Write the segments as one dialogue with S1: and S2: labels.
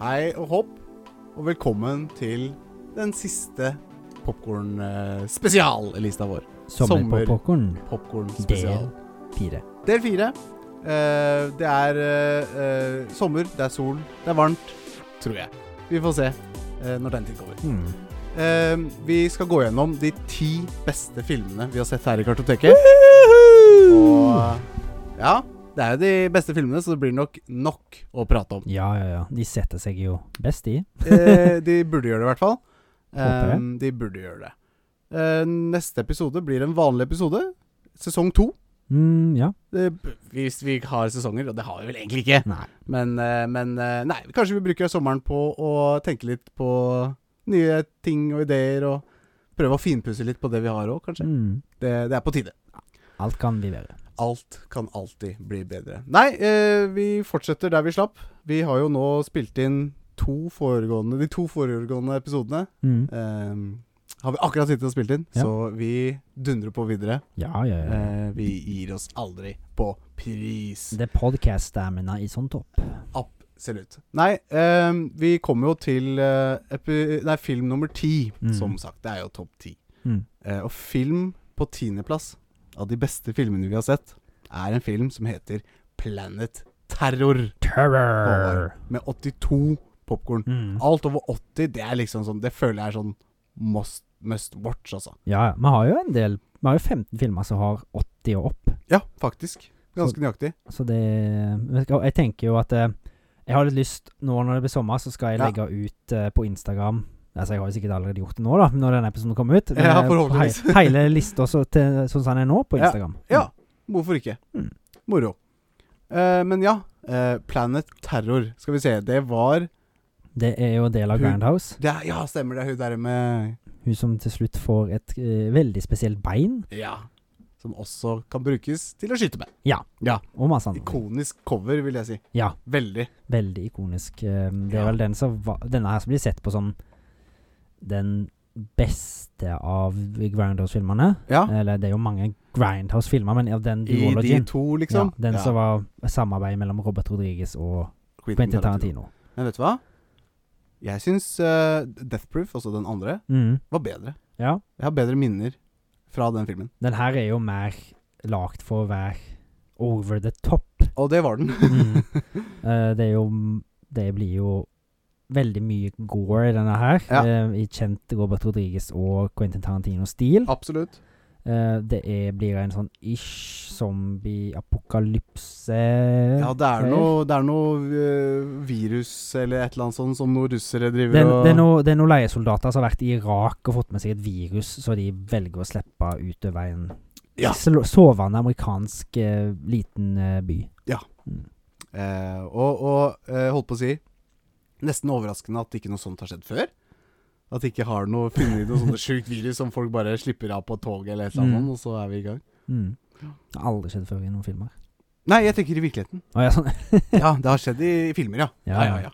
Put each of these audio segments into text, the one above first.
S1: Hei og hopp, og velkommen til den siste popkorn-spesiallista vår.
S2: Sommer på
S1: Sommer.
S2: popkorn.
S1: Popkorn-spesial.
S2: Del fire.
S1: Del fire. Eh, det er eh, eh, sommer, det er sol, det er varmt. Tror jeg. Vi får se eh, når den tid kommer.
S2: Hmm.
S1: Eh, vi skal gå gjennom de ti beste filmene vi har sett her i Kartoteket. Og ja, det er jo de beste filmene, så det blir nok nok å prate om.
S2: Ja, ja, ja. De setter seg jo best i.
S1: Eh, de burde gjøre det, i hvert fall.
S2: Håper jeg.
S1: Ehm, de burde gjøre det. Eh, neste episode blir en vanlig episode. Sesong to.
S2: Mm, ja.
S1: Det- Hvis vi har sesonger, og det har vi vel egentlig ikke.
S2: Nei.
S1: Men, eh, men eh, nei, kanskje vi bruker sommeren på å tenke litt på nye ting og ideer, og prøve å finpusse litt på det vi har òg, kanskje.
S2: Mm.
S1: Det, det er på tide.
S2: Alt kan vi være.
S1: Alt kan alltid bli bedre. Nei, eh, vi fortsetter der vi slapp. Vi har jo nå spilt inn to foregående, de to foregående episodene.
S2: Mm.
S1: Ehm, har vi akkurat sittet og spilt inn,
S2: Ja.
S1: så vi dundrer på videre.
S2: Ja, ja, ja.
S1: Eh, vi gir oss aldri på pris.
S2: Det er podcast-stamina i sånn topp.
S1: Absolutt. Nei, ehm, vi kommer jo til eh, epi nei, film nummer ti,
S2: Mm.
S1: som sagt. Det er jo topp ti.
S2: Mm.
S1: Eh, og film på tiendeplass av de beste filmene vi har sett, er en film som heter Planet Terror,
S2: Terror!
S1: med 82 popkorn.
S2: Mm.
S1: Alt over 80, det er liksom sånn Det føler jeg er sånn must, must watch, altså.
S2: Ja, ja. Vi har jo en del Vi har jo 15 filmer som har 80 og opp.
S1: Ja, faktisk. Ganske nøyaktig.
S2: Så det vet ikke, og Jeg tenker jo at eh, jeg har litt lyst Nå når det blir sommer, så skal jeg
S1: Ja.
S2: legge ut eh, på Instagram Altså Jeg har jo sikkert allerede gjort det nå, da når denne episoden kommer ut.
S1: Ja,
S2: eh,
S1: forhåpentligvis.
S2: hei- Hele lista så til, sånn som den er nå, på
S1: Ja.
S2: Instagram.
S1: Ja, hvorfor ikke?
S2: Mm.
S1: Moro. Eh, men ja, eh, Planet Terror, skal vi se. Det var
S2: Det er jo en del av
S1: Hun-
S2: Grindhouse.
S1: det er, Ja, stemmer det. er Hun der med
S2: Hun som til slutt får et eh, veldig spesielt bein,
S1: Ja. Som også kan brukes til å skyte med.
S2: og masse annet.
S1: Ikonisk cover, vil jeg si.
S2: Ja.
S1: Veldig.
S2: Veldig ikonisk. eh, Det
S1: Ja.
S2: er vel den som va- denne her som blir sett på som den beste av Grindhouse-filmene.
S1: Ja.
S2: Eller det er jo mange Grindhouse-filmer, men av den
S1: I de
S2: duologien.
S1: to, liksom.
S2: Ja, den som var samarbeid mellom Robert Rodriguez og Quentin Tarantino.
S1: Men vet du hva? Jeg syns eh, Death Proof, altså den andre,
S2: Mm,
S1: var bedre.
S2: ja.
S1: Jeg har bedre minner fra den filmen.
S2: Den her er jo mer lagd for å være over the top.
S1: Og det var den.
S2: Mm. Eh, det er jo Det blir jo veldig mye gore i denne her.
S1: Ja.
S2: eh, I kjent Robert Rodriguez og Quentin Tarantino-stil.
S1: Absolutt.
S2: Eh, det er, blir en sånn ish zombie-apokalypse
S1: Ja, det er
S2: Fair.
S1: noe, det er noe eh, virus eller et eller annet sånt som noen russere driver
S2: Det er,
S1: og
S2: det, er noe, det er noen leiesoldater som har vært i Irak og fått med seg et virus, så de velger å slippe utover en
S1: Ja.
S2: slo- sovende amerikansk eh, liten eh, by.
S1: Eh, og og eh, holdt på å si Nesten overraskende at ikke noe sånt har skjedd før. At de ikke har noe funnet noe sånt sjukt virus som folk bare slipper av på toget eller et eller annet,
S2: Mm.
S1: sånt, og så er vi i gang.
S2: Mm. Det har aldri skjedd før i noen filmer.
S1: Nei, jeg tenker i virkeligheten.
S2: Å, ja, sånn.
S1: Ja, det har skjedd i filmer, ja.
S2: Ja,
S1: Ja, ja, ja.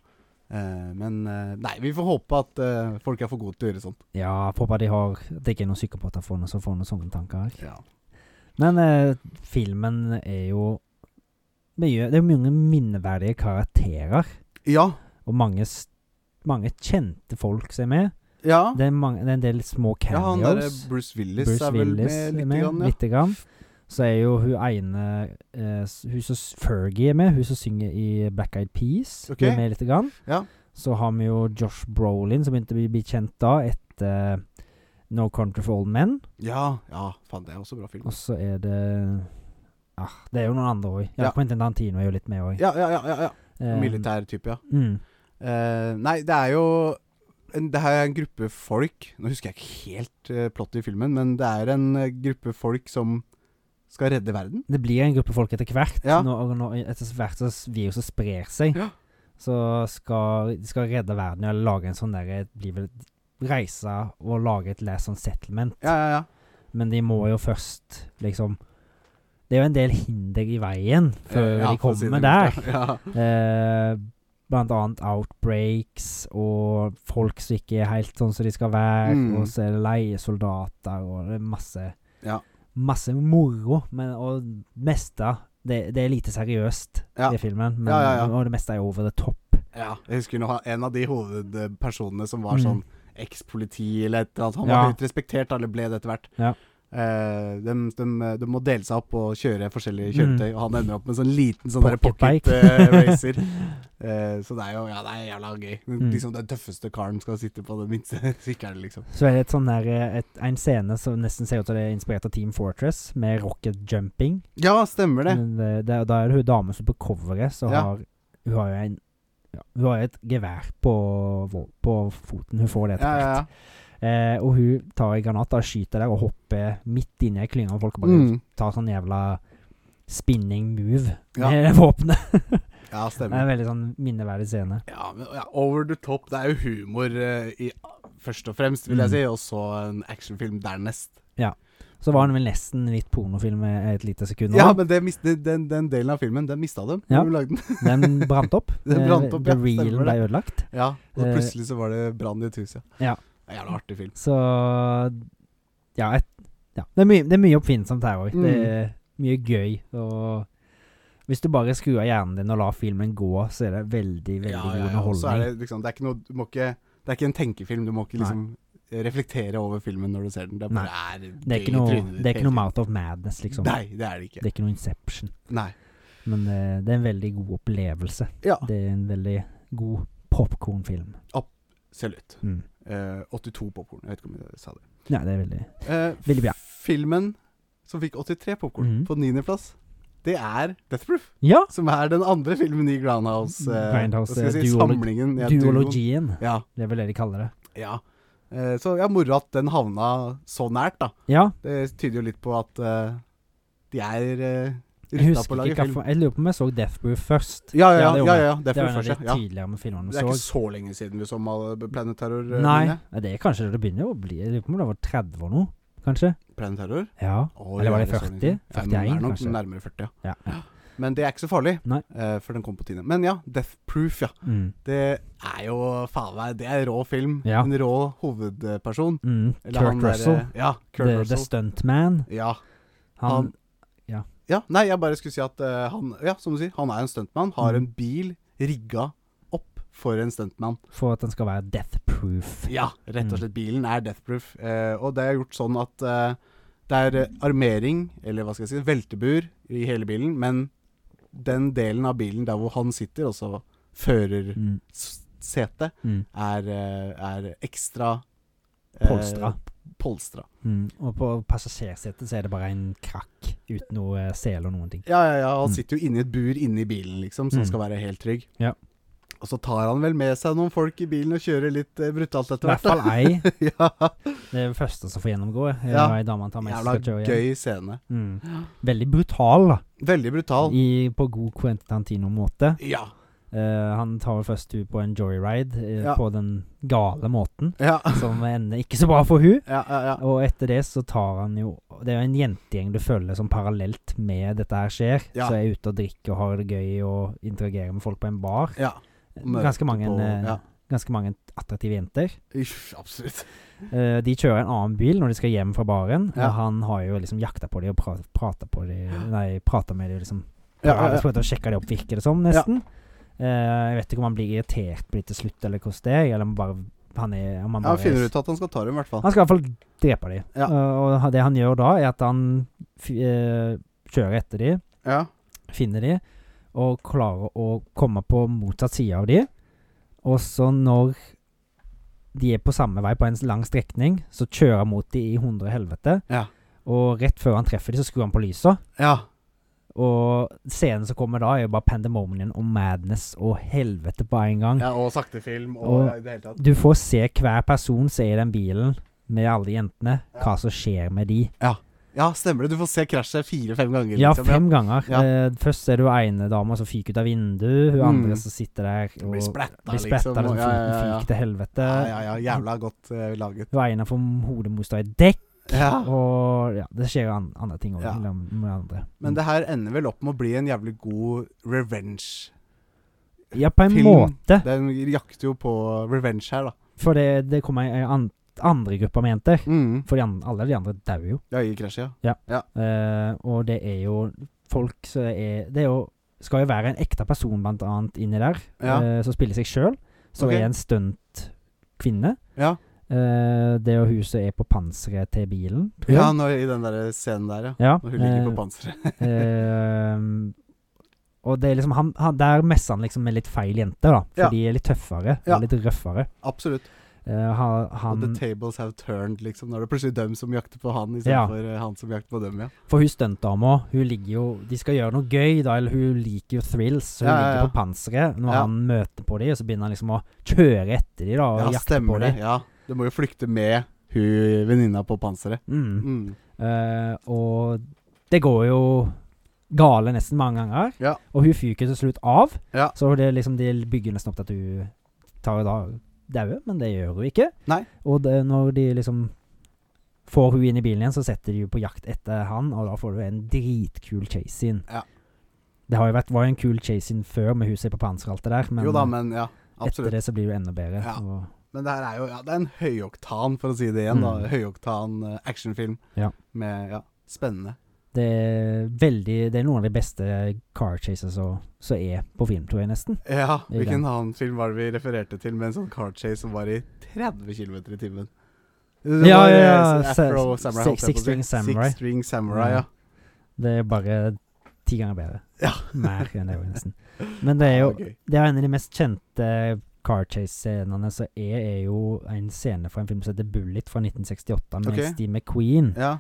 S1: Eh, men eh, nei, vi får håpe at eh, folk er for gode til å gjøre sånt.
S2: ja jeg håper de har at det ikke er noen psykopater for noe, som får noen sånne tanker.
S1: Ja.
S2: Men eh, filmen er jo mye, Det er mange minneverdige karakterer,
S1: ja.
S2: og mange, s- mange kjente folk som er med.
S1: Ja,
S2: Det er, mange, det er en del små cameos.
S1: han derre Bruce Willis
S2: Bruce
S1: er vel
S2: Willis
S1: med
S2: er
S1: lite
S2: med,
S1: grann, ja.
S2: lite grann. Så er jo hun ene eh, s- Hun som s- Fergie er med, hun som synger i Black Eyed Peas.
S1: Ok.
S2: Hun er med lite grann.
S1: Ja.
S2: Så har vi jo Josh Brolin, som begynte å bli, bli kjent da, etter eh, No Country for Old Men.
S1: Ja, ja, faen, det er også bra film.
S2: Og så er det ah, Det er jo noen andre òg. Ja,
S1: Ja.
S2: Quentin Tarantino er jo litt med òg.
S1: Ja, ja, ja. ja, ja.
S2: Eh.
S1: Militær type, ja.
S2: Mm,
S1: Eh, nei, det er jo en, Det her er en gruppe folk Nå husker jeg ikke helt uh, plottet i filmen, men det er en eh, gruppe folk som skal redde verden.
S2: det blir en gruppe folk etter hvert.
S1: Ja.
S2: Når, når etter hvert som s- viruset sprer seg,
S1: Ja.
S2: så skal de skal redde verden eller lage en sånn derre blir vel- Reise og lage et last on settlement.
S1: Ja, ja, ja.
S2: Men de må jo først liksom Det er jo en del hinder i veien før
S1: Eh, ja,
S2: de
S1: for å si
S2: kommer
S1: det
S2: der.
S1: mildt, Ja.
S2: Eh, blant annet outbreaks og folk som ikke er helt sånn som de skal være.
S1: Mm.
S2: Og så er det leiesoldater og det er masse
S1: Ja.
S2: Masse moro. Men og meste det, det er lite seriøst
S1: Ja.
S2: i filmen, men,
S1: Ja, ja, ja.
S2: og det meste er over the top.
S1: Ja. Ja. Jeg husker nå, en av de hovedpersonene som var
S2: Mm.
S1: sånn eks-politi eller et eller annet. Han
S2: Ja.
S1: var høyt respektert, eller ble det etter hvert.
S2: Ja.
S1: Eh, de, de, de må dele seg opp og kjøre forskjellige
S2: Mm.
S1: kjøretøy, og han ender opp med en sånn liten sånn der
S2: Pocketbike.
S1: pocket eh, racer. Eh, så det er jo ja, det er jævla gøy.
S2: Mm.
S1: Liksom Den tøffeste karen skal sitte på den minste sykkelen, liksom.
S2: Så er det et sånn der, eh, et, en scene som nesten ser ut som det er inspirert av Team Fortress, med rocket jumping.
S1: Ja, stemmer det.
S2: Men eh, det, det, da er det hun damen som på coveret, så
S1: Ja.
S2: har hun har jo en ja, hun har jo et gevær på, vå- på foten. Hun får det
S1: Ja,
S2: etter
S1: ja,
S2: hvert.
S1: ja.
S2: Eh, og hun tar en granat da, skyter der og hopper midt inni ei klynge, og folk bare
S1: Mm.
S2: tar sånn jævla spinning move
S1: Ja.
S2: med det våpenet.
S1: ja
S2: Det er
S1: stemmer.
S2: en veldig sånn minneverdig scene.
S1: Ja, men, ja, over the top. Det er jo humor eh, i, først og fremst, vil
S2: Mm.
S1: jeg si, og så en actionfilm dernest.
S2: Så var den vel nesten litt pornofilm i et lite sekund.
S1: Ja,
S2: også.
S1: men det mist- den, den delen av filmen, den mista dem.
S2: Ja.
S1: når vi lagde den.
S2: Den brant opp.
S1: Den
S2: Eh,
S1: brant opp,
S2: The
S1: ja,
S2: reelen
S1: stemmer
S2: ble
S1: det.
S2: ødelagt.
S1: Ja, og
S2: Eh.
S1: plutselig så var det brann i et hus, ja.
S2: Ja.
S1: Det er en Jævla artig film.
S2: Så ja, et, ja. Det, er mye, det er mye oppfinnsomt her òg.
S1: Mm.
S2: Det er mye gøy. Og hvis du bare skrur av hjernen din og lar filmen gå, så er det veldig, veldig
S1: Ja,
S2: god
S1: ja, ja, og så er
S2: underholdning.
S1: det liksom Det er ikke noe Du må ikke Det er ikke en tenkefilm. Du må ikke
S2: Nei.
S1: liksom reflektere over filmen når du ser den. Det bare er
S2: Det er
S1: gøy
S2: ikke
S1: i
S2: noe,
S1: trynet ditt
S2: det er ikke
S1: hele
S2: noe Mouth of Madness,
S1: tiden.
S2: liksom.
S1: Nei, det er det ikke.
S2: Det er ikke noe Inception.
S1: Nei.
S2: Men eh, det er en veldig god opplevelse.
S1: Ja,
S2: Det er en veldig god popkornfilm.
S1: absolutt.
S2: Mm.
S1: Eh, 82 popkorn. Jeg vet ikke om jeg sa det.
S2: Ja, det er veldig
S1: Eh,
S2: Veldig bra.
S1: Filmen som fikk 83 popkorn
S2: Mhm.
S1: på niendeplass, det er Death Proof.
S2: Ja!
S1: Som er den andre filmen i Groundhouse. eh,
S2: Grindhouse,
S1: hva skal jeg
S2: eh,
S1: si,
S2: duolo-
S1: samlingen. ja, duoen.
S2: Duologien.
S1: Ja,
S2: Det er vel det de kaller det.
S1: Ja. Eh, Så ja, moro at den havna så nært, da.
S2: Ja.
S1: Det tyder jo litt på at eh, de er uh,
S2: Jeg
S1: rusta på å
S2: husker
S1: lage
S2: ikke
S1: film.
S2: hva Jeg lurer på om jeg så Death Proof først.
S1: Ja, ja, ja.
S2: det gjorde
S1: ja,
S2: jeg.
S1: ja, det,
S2: Det
S1: er
S2: var en av
S1: først,
S2: de
S1: ja. ja.
S2: tidligere filmene
S1: Det
S2: vi
S1: er ikke
S2: så.
S1: så lenge siden vi så Mal- Planet Terror. eh,
S2: Nei,
S1: mener jeg.
S2: ja, det er kanskje det begynner å bli Jeg lurer på om det var 30 og noe, kanskje?
S1: Planet Terror?
S2: Ja.
S1: Å,
S2: Eller var
S1: ja,
S2: det
S1: er så
S2: 40?
S1: lenge siden? Ja, men
S2: 41,
S1: det er nok
S2: kanskje.
S1: nærmere 40, ja.
S2: ja. ja.
S1: Men det er ikke så farlig,
S2: Nei.
S1: eh, for den kom på tiende. Men ja, Death Proof, ja.
S2: Mm.
S1: Det er jo faen meg Det er en rå film.
S2: Ja.
S1: En rå hovedperson.
S2: Mm.
S1: Eller han
S2: Kurt
S1: der, eh,
S2: Russell,
S1: Ja. Kurt
S2: the, the
S1: Russell.
S2: Stuntman.
S1: Ja.
S2: Han,
S1: Han- Ja, nei, jeg bare skulle si at eh, han Ja, som du sier, han er en stuntmann. Har
S2: Mm.
S1: en bil rigga opp for en stuntmann.
S2: For at den skal være death proof.
S1: Ja, rett
S2: Mm.
S1: og slett. Bilen er deathproof. Eh, og det er gjort sånn at eh, det er eh, armering, eller hva skal jeg si, veltebur i hele bilen, men den delen av bilen der hvor han sitter, altså
S2: Mm.
S1: førersetet,
S2: Mm.
S1: er, eh, er ekstra eh,
S2: Polstra.
S1: polstra.
S2: Mm. Og på passasjersetet så er det bare en krakk uten noe sele og noen ting.
S1: Ja, ja, ja. Han
S2: Mm.
S1: sitter jo inni et bur inni bilen, liksom, så
S2: Mm.
S1: han skal være helt trygg.
S2: Ja.
S1: Og så tar han vel med seg noen folk i bilen og kjører litt eh, brutalt
S2: I
S1: etter
S2: hvert
S1: hvert. da.
S2: fall ei.
S1: ja,
S2: Det er det første som får gjennomgå. er
S1: Ja.
S2: når ei dame han tar med seg
S1: Jævla
S2: skal kjøre hjem.
S1: gøy scene.
S2: Mm. Veldig brutal, da.
S1: Veldig brutal.
S2: I, på god Quentin Tarantino-måte.
S1: Ja.
S2: Eh, han tar vel først hun på en joyride eh,
S1: Ja.
S2: på den gale måten,
S1: Ja,
S2: som ender ikke så bra for hun.
S1: ja, ja. ja.
S2: Og etter det så tar han jo Det er jo en jentegjeng du følger som parallelt med dette her skjer.
S1: Ja.
S2: Så er ute og drikker og har det gøy og interagerer med folk på en bar.
S1: ja. Møte
S2: Ganske mange,
S1: på-
S2: eh,
S1: ja.
S2: ganske mange attraktive jenter.
S1: Ish, absolutt.
S2: Eh, de kjører en annen bil når de skal hjem fra baren.
S1: Ja.
S2: Og han har jo liksom jakta på dem og pra prata på de Nei, prata med dem liksom.
S1: Ja,
S2: Ja,
S1: ja, ja.
S2: Prøvde å sjekke det opp, virker det som, nesten. Eh, jeg vet ikke om han blir irritert på det til slutt, eller hvordan det er. Eller om bare han er om han,
S1: Ja, han
S2: bare
S1: finner ut at han skal ta dem, i hvert fall.
S2: Han skal i hvert fall drepe dem. Eh,
S1: Ja.
S2: og det han gjør da, er at han f eh, kjører etter dem,
S1: Ja.
S2: finner dem, og klarer å komme på motsatt side av dem. Og så når de er på samme vei på en lang strekning, så kjører han mot dem i hundre helvete.
S1: Ja.
S2: Og rett før han treffer dem, så skrur han på lysa.
S1: ja.
S2: Og scenen som kommer da, er jo bare pandemonium og madness og helvete på en gang.
S1: ja og sakte film og,
S2: Og-
S1: ja, i det hele tatt.
S2: Du får se hver person som er i den bilen, med alle de jentene, hva som skjer med de.
S1: Ja, stemmer det. Du får se krasjet fire-fem ganger.
S2: Ja,
S1: liksom.
S2: fem ganger.
S1: Ja.
S2: Eh, først er det jo ene dama som fyker ut av vinduet, hun
S1: Mm.
S2: andre som sitter der
S1: Det
S2: og
S1: Blir splatta,
S2: blir
S1: liksom.
S2: spetta, liksom.
S1: og- Ja, ja, ja, ja.
S2: Fyker til helvete.
S1: ja, ja, ja. Jævla godt eh, laget.
S2: Hun ene får hodemotstand i dekk,
S1: Ja.
S2: og ja, det skjer jo an andre ting òg.
S1: Ja.
S2: Med andre.
S1: Men det her ender vel opp med å bli en jævlig god revenge.
S2: ja, på en
S1: film-
S2: måte.
S1: Den jakter jo på revenge her, da.
S2: For det, det kommer ei an andre grupper med jenter.
S1: Mm.
S2: For de an alle de andre dauer jo.
S1: Ja, i krasjet, ja.
S2: Eh, og det er jo folk som er Det er jo skal jo være en ekte person, blant annet, inni der,
S1: Ja.
S2: eh, som spiller seg sjøl. Som
S1: Ok.
S2: er en stuntkvinne.
S1: Ja,
S2: Eh, det og hun som er på panseret til bilen, tror
S1: ja
S2: jeg.
S1: nå, i den der scenen der, ja.
S2: Ja.
S1: Når hun ligger på
S2: eh,
S1: panseret.
S2: Ehm, og det er liksom han, han, Der messer han liksom med litt feil jente, da. For
S1: Ja.
S2: de er litt tøffere
S1: Ja.
S2: og litt røffere.
S1: Absolutt.
S2: Eh, han,
S1: Og
S2: han,
S1: the tables have turned, liksom. Nå er det plutselig dem som jakter på han,
S2: Ja.
S1: istedenfor ja. eh, han som jakter på dem, ja.
S2: for hun stuntdama, hun ligger jo De skal gjøre noe gøy, da. Eller hun liker jo thrills. Så hun
S1: Ja, ja, ja.
S2: ligger på panseret når
S1: Ja.
S2: han møter på dem, og så begynner han liksom å kjøre etter dem, da. Og
S1: Ja,
S2: jakte på
S1: stemmer det.
S2: dem.
S1: Ja. Du må jo flykte med hun venninna på panseret.
S2: Mm.
S1: Mm.
S2: Eh, og det går jo gale nesten mange ganger.
S1: Ja.
S2: Og hun fyker til slutt av.
S1: Ja.
S2: Så det er liksom, de bygger nesten opp til at hun tar da dauer, men det gjør hun ikke.
S1: Nei.
S2: Og det, når de liksom får hun inn i bilen igjen, så setter de jo på jakt etter han, og da får du en dritkul chase-in.
S1: Ja.
S2: Det har jo vært, var jo en kul chase-in før med huset på panser og alt det der, men, eh,
S1: jo da, men ja.
S2: etter
S1: Absolutt.
S2: det så blir det enda bedre.
S1: Ja.
S2: og-
S1: Men det her er jo ja, det er en høyoktan, for å si det igjen.
S2: Mm.
S1: da Høyoktan eh, actionfilm
S2: Ja.
S1: med ja, spennende.
S2: Det er veldig Det er noen av de beste car chases som som er på film, tror jeg, nesten.
S1: Ja,
S2: I
S1: hvilken
S2: den.
S1: annen film var det vi refererte til med en sånn car chase som var i 30 km i timen? eh,
S2: Ja, ja, ja,
S1: Afro
S2: se-
S1: Samurai,
S2: se-
S1: holdt jeg på å si.
S2: Six String Samurai. Mm.
S1: Six String Samurai, ja.
S2: Det er bare ti ganger bedre.
S1: Ja.
S2: Mer enn det, jo nesten. Men det er jo
S1: gøy.
S2: Det er en av de mest kjente car chase-scenene som er, er jo en scene fra en film som heter Bullet fra 1968 med
S1: Ok.
S2: Steve McQueen.
S1: Ja,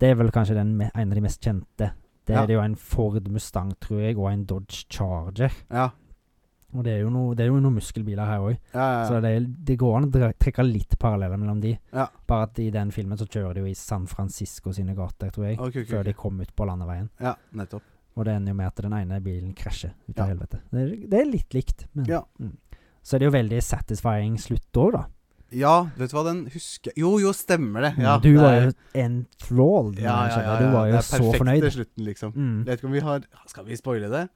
S2: Det er vel kanskje den, me- en av de mest kjente. Det
S1: Ja.
S2: er det jo en Ford Mustang, tror jeg, og en Dodge Charger.
S1: ja,
S2: Og det er jo, noe- det er jo noen muskelbiler her òg,
S1: ja, ja,
S2: så det, er- det går an å dra- trekke litt paralleller mellom de.
S1: Ja.
S2: Bare at i den filmen så kjører de jo i San Francisco sine gater, tror jeg,
S1: Ok, ok,
S2: før
S1: ok.
S2: de kom ut på landeveien.
S1: ja. Nettopp.
S2: Og det ender jo med at den ene bilen krasjer ut av
S1: Ja.
S2: helvete. Det er, det er litt likt, men
S1: Ja.
S2: mm. Så er det jo veldig satisfying slutt òg, da.
S1: Ja, vet du hva den husker Jo, jo, stemmer det. Ja,
S2: Mm, du
S1: det
S2: var
S1: er-
S2: jo enthralled.
S1: ja, ja, ja, ja,
S2: Du var
S1: det
S2: jo
S1: er
S2: så
S1: Perfekt
S2: fornøyd.
S1: til slutten, liksom.
S2: Mm.
S1: Vet ikke om vi har Skal vi spoile det?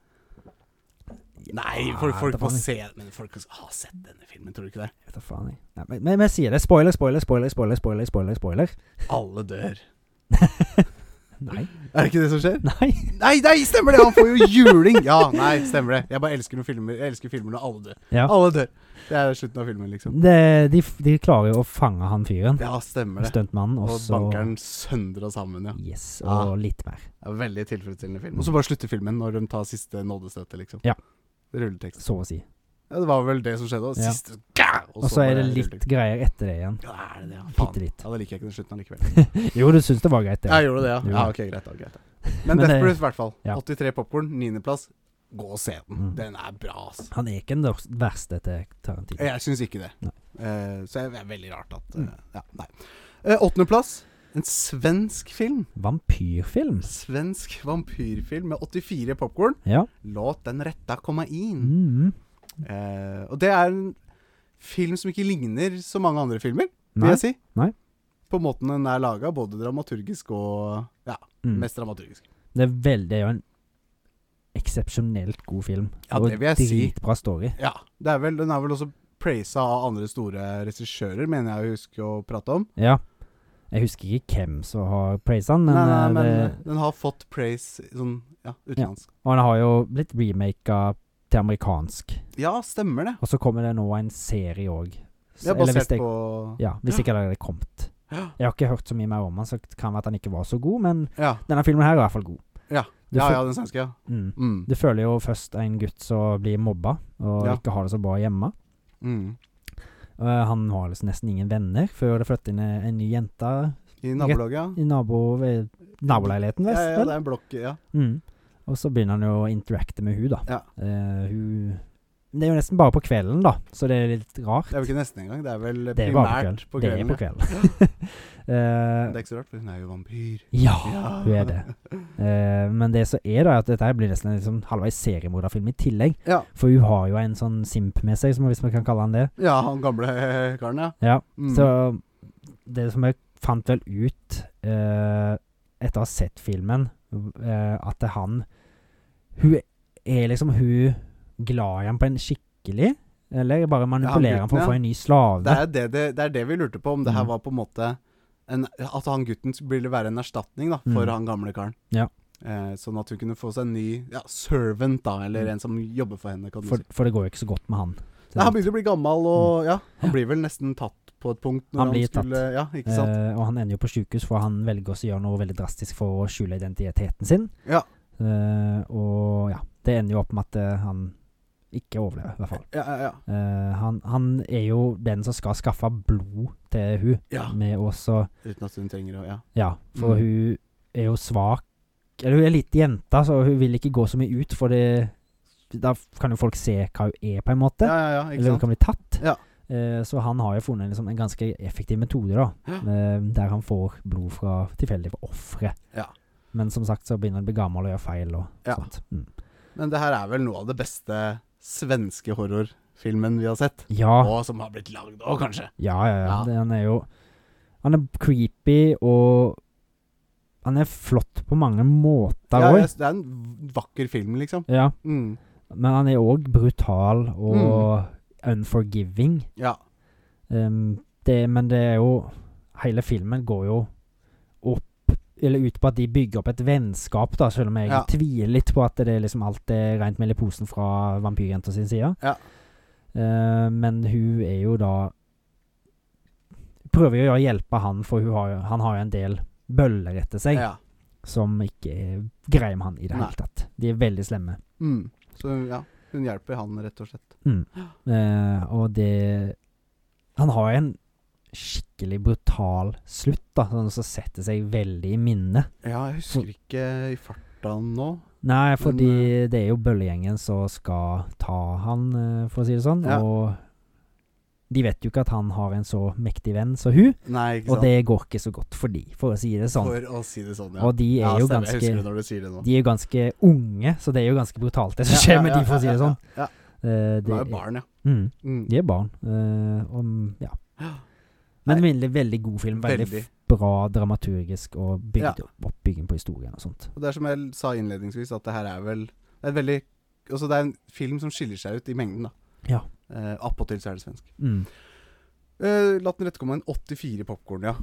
S1: Nei, folk,
S2: Ja,
S1: folk
S2: det
S1: må
S2: var litt-
S1: se Men folk har sett denne filmen, tror du ikke det?
S2: Vet da faen, jeg. Nei, men- men vi sier det. Spoiler, spoiler, spoiler, spoiler, spoiler. spoiler, spoiler.
S1: Alle dør.
S2: Nei.
S1: Er det ikke det som skjer?
S2: Nei.
S1: Nei, nei, stemmer det! Han får jo juling! Ja, nei, stemmer det. Jeg bare elsker noen filmer Jeg elsker filmer når alle dør.
S2: Ja.
S1: Alle dør. Det er slutten av filmen, liksom.
S2: Det, de, f- de klarer jo å fange han fyren,
S1: Ja, stemmer det.
S2: stuntmannen,
S1: Og
S2: og så
S1: banker den søndre og sammen, ja. Ah.
S2: Yes,
S1: Ja.
S2: og litt mer.
S1: Det er veldig tilfredsstillende film. Og så bare slutter filmen når de tar siste nådestøtte, liksom.
S2: Ja.
S1: Rulletekst.
S2: Så å si.
S1: Ja, det var vel det som skjedde. Og
S2: Ja.
S1: siste gah!
S2: Og så
S1: bare
S2: er det litt
S1: rulletekst.
S2: greier etter det igjen.
S1: Ja, er det det? Ja,
S2: Bitte
S1: faen.
S2: litt.
S1: Ja, da liker jeg ikke den slutten allikevel.
S2: Jo, du syns det var greit, det.
S1: Jeg gjorde det, ja.
S2: Jo.
S1: ja ok, greit da, greit da. Men,
S2: Men
S1: Death
S2: det-
S1: Proof i hvert fall.
S2: ja.
S1: 83 popkorn, niendeplass. Gå og se den.
S2: Mm.
S1: Den er bra, ass.
S2: Han er ikke den dør- verste til Tarantino.
S1: Jeg syns ikke det.
S2: Nei.
S1: Eh, så det er veldig rart at eh,
S2: Mm.
S1: Ja, nei. Eh, Åttendeplass. En svensk film.
S2: Vampyrfilm.
S1: Svensk vampyrfilm med 84 popkorn.
S2: Ja.
S1: Låt den retta komme inn.
S2: Mm.
S1: Eh, og det er en film som ikke ligner så mange andre filmer, vil
S2: Nei.
S1: jeg si.
S2: Nei.
S1: På måten den er laga, både dramaturgisk og Ja,
S2: Mm.
S1: mest dramaturgisk.
S2: Det er veldig det er jo en eksepsjonelt god film.
S1: Ja, det vil jeg si.
S2: dritbra story.
S1: Ja. Det er vel, den er vel også praisa av andre store regissører, mener jeg å huske å prate om.
S2: Ja. Jeg husker ikke hvem som har praisa den,
S1: Men,
S2: men,
S1: nei, nei,
S2: eh,
S1: men
S2: det,
S1: den har fått praise sånn ja, utenlandsk.
S2: Og den har jo blitt remaka til amerikansk.
S1: Ja. stemmer det.
S2: Og så kommer det nå en serie òg.
S1: Det er basert
S2: jeg,
S1: på
S2: Ja, hvis ikke det hadde kommet.
S1: Ja.
S2: Jeg har ikke hørt så mye mer om den, så det kan være at den ikke var så god, men
S1: Ja,
S2: denne filmen her er i hvert fall god.
S1: Ja.
S2: Du,
S1: ja,
S2: fø-
S1: ja den svenske, ja.
S2: Mm.
S1: Mm.
S2: du føler jo først en gutt som blir mobba, og
S1: Ja.
S2: ikke har det så bra hjemme.
S1: Mm.
S2: Eh, han har liksom nesten ingen venner før det flytter inn en ny jente
S1: I nabolaget, ja.
S2: i nabo, ved naboleiligheten,
S1: Ja,
S2: vest,
S1: ja, det er en blokk ja.
S2: vel? Mm. Og så begynner han jo å interacte med hun da.
S1: Ja.
S2: Eh, hun Det er jo nesten bare på kvelden, da, så det er litt rart.
S1: Det er vel ikke nesten engang, det er vel
S2: Det er bare
S1: primært på
S2: på kvelden.
S1: kvelden. ja.
S2: Det er
S1: Det
S2: på kvelden. Eh,
S1: er ikke så rart, for hun er jo vampyr.
S2: ja,
S1: Ja.
S2: hun er det. Eh, men det som er, da, er at dette her blir nesten en liksom halvveis seriemorderfilm i tillegg.
S1: Ja,
S2: For hun har jo en sånn simp med seg, som hvis man kan kalle han det.
S1: ja han gamle eh, karen, ja.
S2: Ja,
S1: Mm.
S2: Så det som jeg fant vel ut eh, etter å ha sett filmen, eh, at det er han Hun er liksom hun glad i ham på en skikkelig Eller bare manipulerer ham for
S1: gutten,
S2: å få
S1: ja.
S2: en ny slave?
S1: Det er det, det, det er det vi lurte på, om det her
S2: Mm.
S1: var på en måte en, At han gutten ville være en erstatning da for
S2: Mm.
S1: han gamle karen.
S2: Ja.
S1: Eh, sånn at hun kunne få seg en ny ja, servant, da, eller en som jobber for henne. Kan du
S2: Mm. For,
S1: si.
S2: for det går jo ikke så godt med han.
S1: Nei, han begynner å bli gammel, og ja, han blir vel nesten tatt på et punkt. Når
S2: Mm. Han
S1: han,
S2: blir
S1: skulle,
S2: tatt.
S1: Ja, ikke sant?
S2: Eh, og han ender jo på sykehus, for han velger også å gjøre noe veldig drastisk for å skjule identiteten sin.
S1: Ja.
S2: Eh, og ja, det ender jo opp med at eh, han ikke overlever, i hvert fall.
S1: Ja, ja, ja.
S2: Eh, han, han er jo den som skal skaffe blod til hun,
S1: ja.
S2: med også
S1: Uten at hun trenger å Ja.
S2: Ja, for
S1: Mm.
S2: hun er jo svak Eller hun er litt jenta, så hun vil ikke gå så mye ut, for det Da kan jo folk se hva hun er, på en måte.
S1: ja, ja, ja ikke
S2: Eller
S1: sant?
S2: hun kan bli tatt.
S1: Ja.
S2: Eh, Så han har jo funnet liksom en ganske effektiv metode, da.
S1: Ja.
S2: eh, Der han får blod fra tilfeldige ofre.
S1: Ja.
S2: Men som sagt så begynner han å bli gammel og gjøre feil og
S1: Ja.
S2: sånt. Mm.
S1: Men det her er vel noe av det beste svenske horrorfilmen vi har sett.
S2: Ja,
S1: Og som har blitt lagd òg, kanskje.
S2: ja, ja. ja.
S1: Ja.
S2: Det, han er jo Han er creepy og Han er flott på mange måter
S1: Ja,
S2: òg.
S1: jeg- det er en vakker film, liksom.
S2: Ja,
S1: Mm.
S2: men han er òg brutal
S1: Mm.
S2: og unforgiving.
S1: Ja.
S2: Um, det, men det er jo Hele filmen går jo opp Eller ut på at de bygger opp et vennskap, da, selv om jeg
S1: Ja.
S2: tviler litt på at det er liksom alt er rent mel i posen fra vampyrjenta sin side.
S1: Ja.
S2: Eh, men hun er jo da Prøver jo å hjelpe han, for hun har, jo- han har jo en del bøller etter seg
S1: ja.
S2: som ikke er greie med han i det
S1: Nei.
S2: hele tatt. De er veldig slemme.
S1: Mm. Så ja, hun hjelper han, rett og slett.
S2: Mm. Eh, og det Han har en skikkelig brutal slutt, da, sånn som setter seg veldig i minnet.
S1: Ja, jeg husker
S2: Mm.
S1: ikke i farta nå.
S2: Nei,
S1: Men,
S2: fordi det er jo bøllegjengen som skal ta han, eh, for å si det sånn.
S1: Ja.
S2: Og de vet jo ikke at han har en så mektig venn som hun,
S1: Nei, ikke
S2: og
S1: sant.
S2: det går ikke så godt for de, for å si det sånn.
S1: For å si det sånn, ja.
S2: Og de er
S1: ja,
S2: jo
S1: stemmer. Jeg
S2: ganske
S1: husker det når du sier det nå.
S2: De er jo ganske unge, så det er jo ganske brutalt, det som
S1: Ja,
S2: skjer
S1: ja,
S2: med
S1: ja,
S2: de, for å si
S1: ja,
S2: det sånn.
S1: Ja, ja.
S2: Eh,
S1: De er jo
S2: det-
S1: barn, ja.
S2: Mm.
S1: Mm.
S2: De er barn. eh, om, ja.
S1: Ja.
S2: Men veldig, veldig god film. Veldig,
S1: Veldig.
S2: bra dramaturgisk og bygd opp, oppbygging på historien og sånt.
S1: Og det er som jeg sa innledningsvis, at det her er vel Det er et veldig Altså, det er en film som skiller seg ut i mengden, da.
S2: Ja.
S1: Eh, Appåtil så er det svensk.
S2: Mm.
S1: Eh, La den rette komme en 84 popkorn, ja.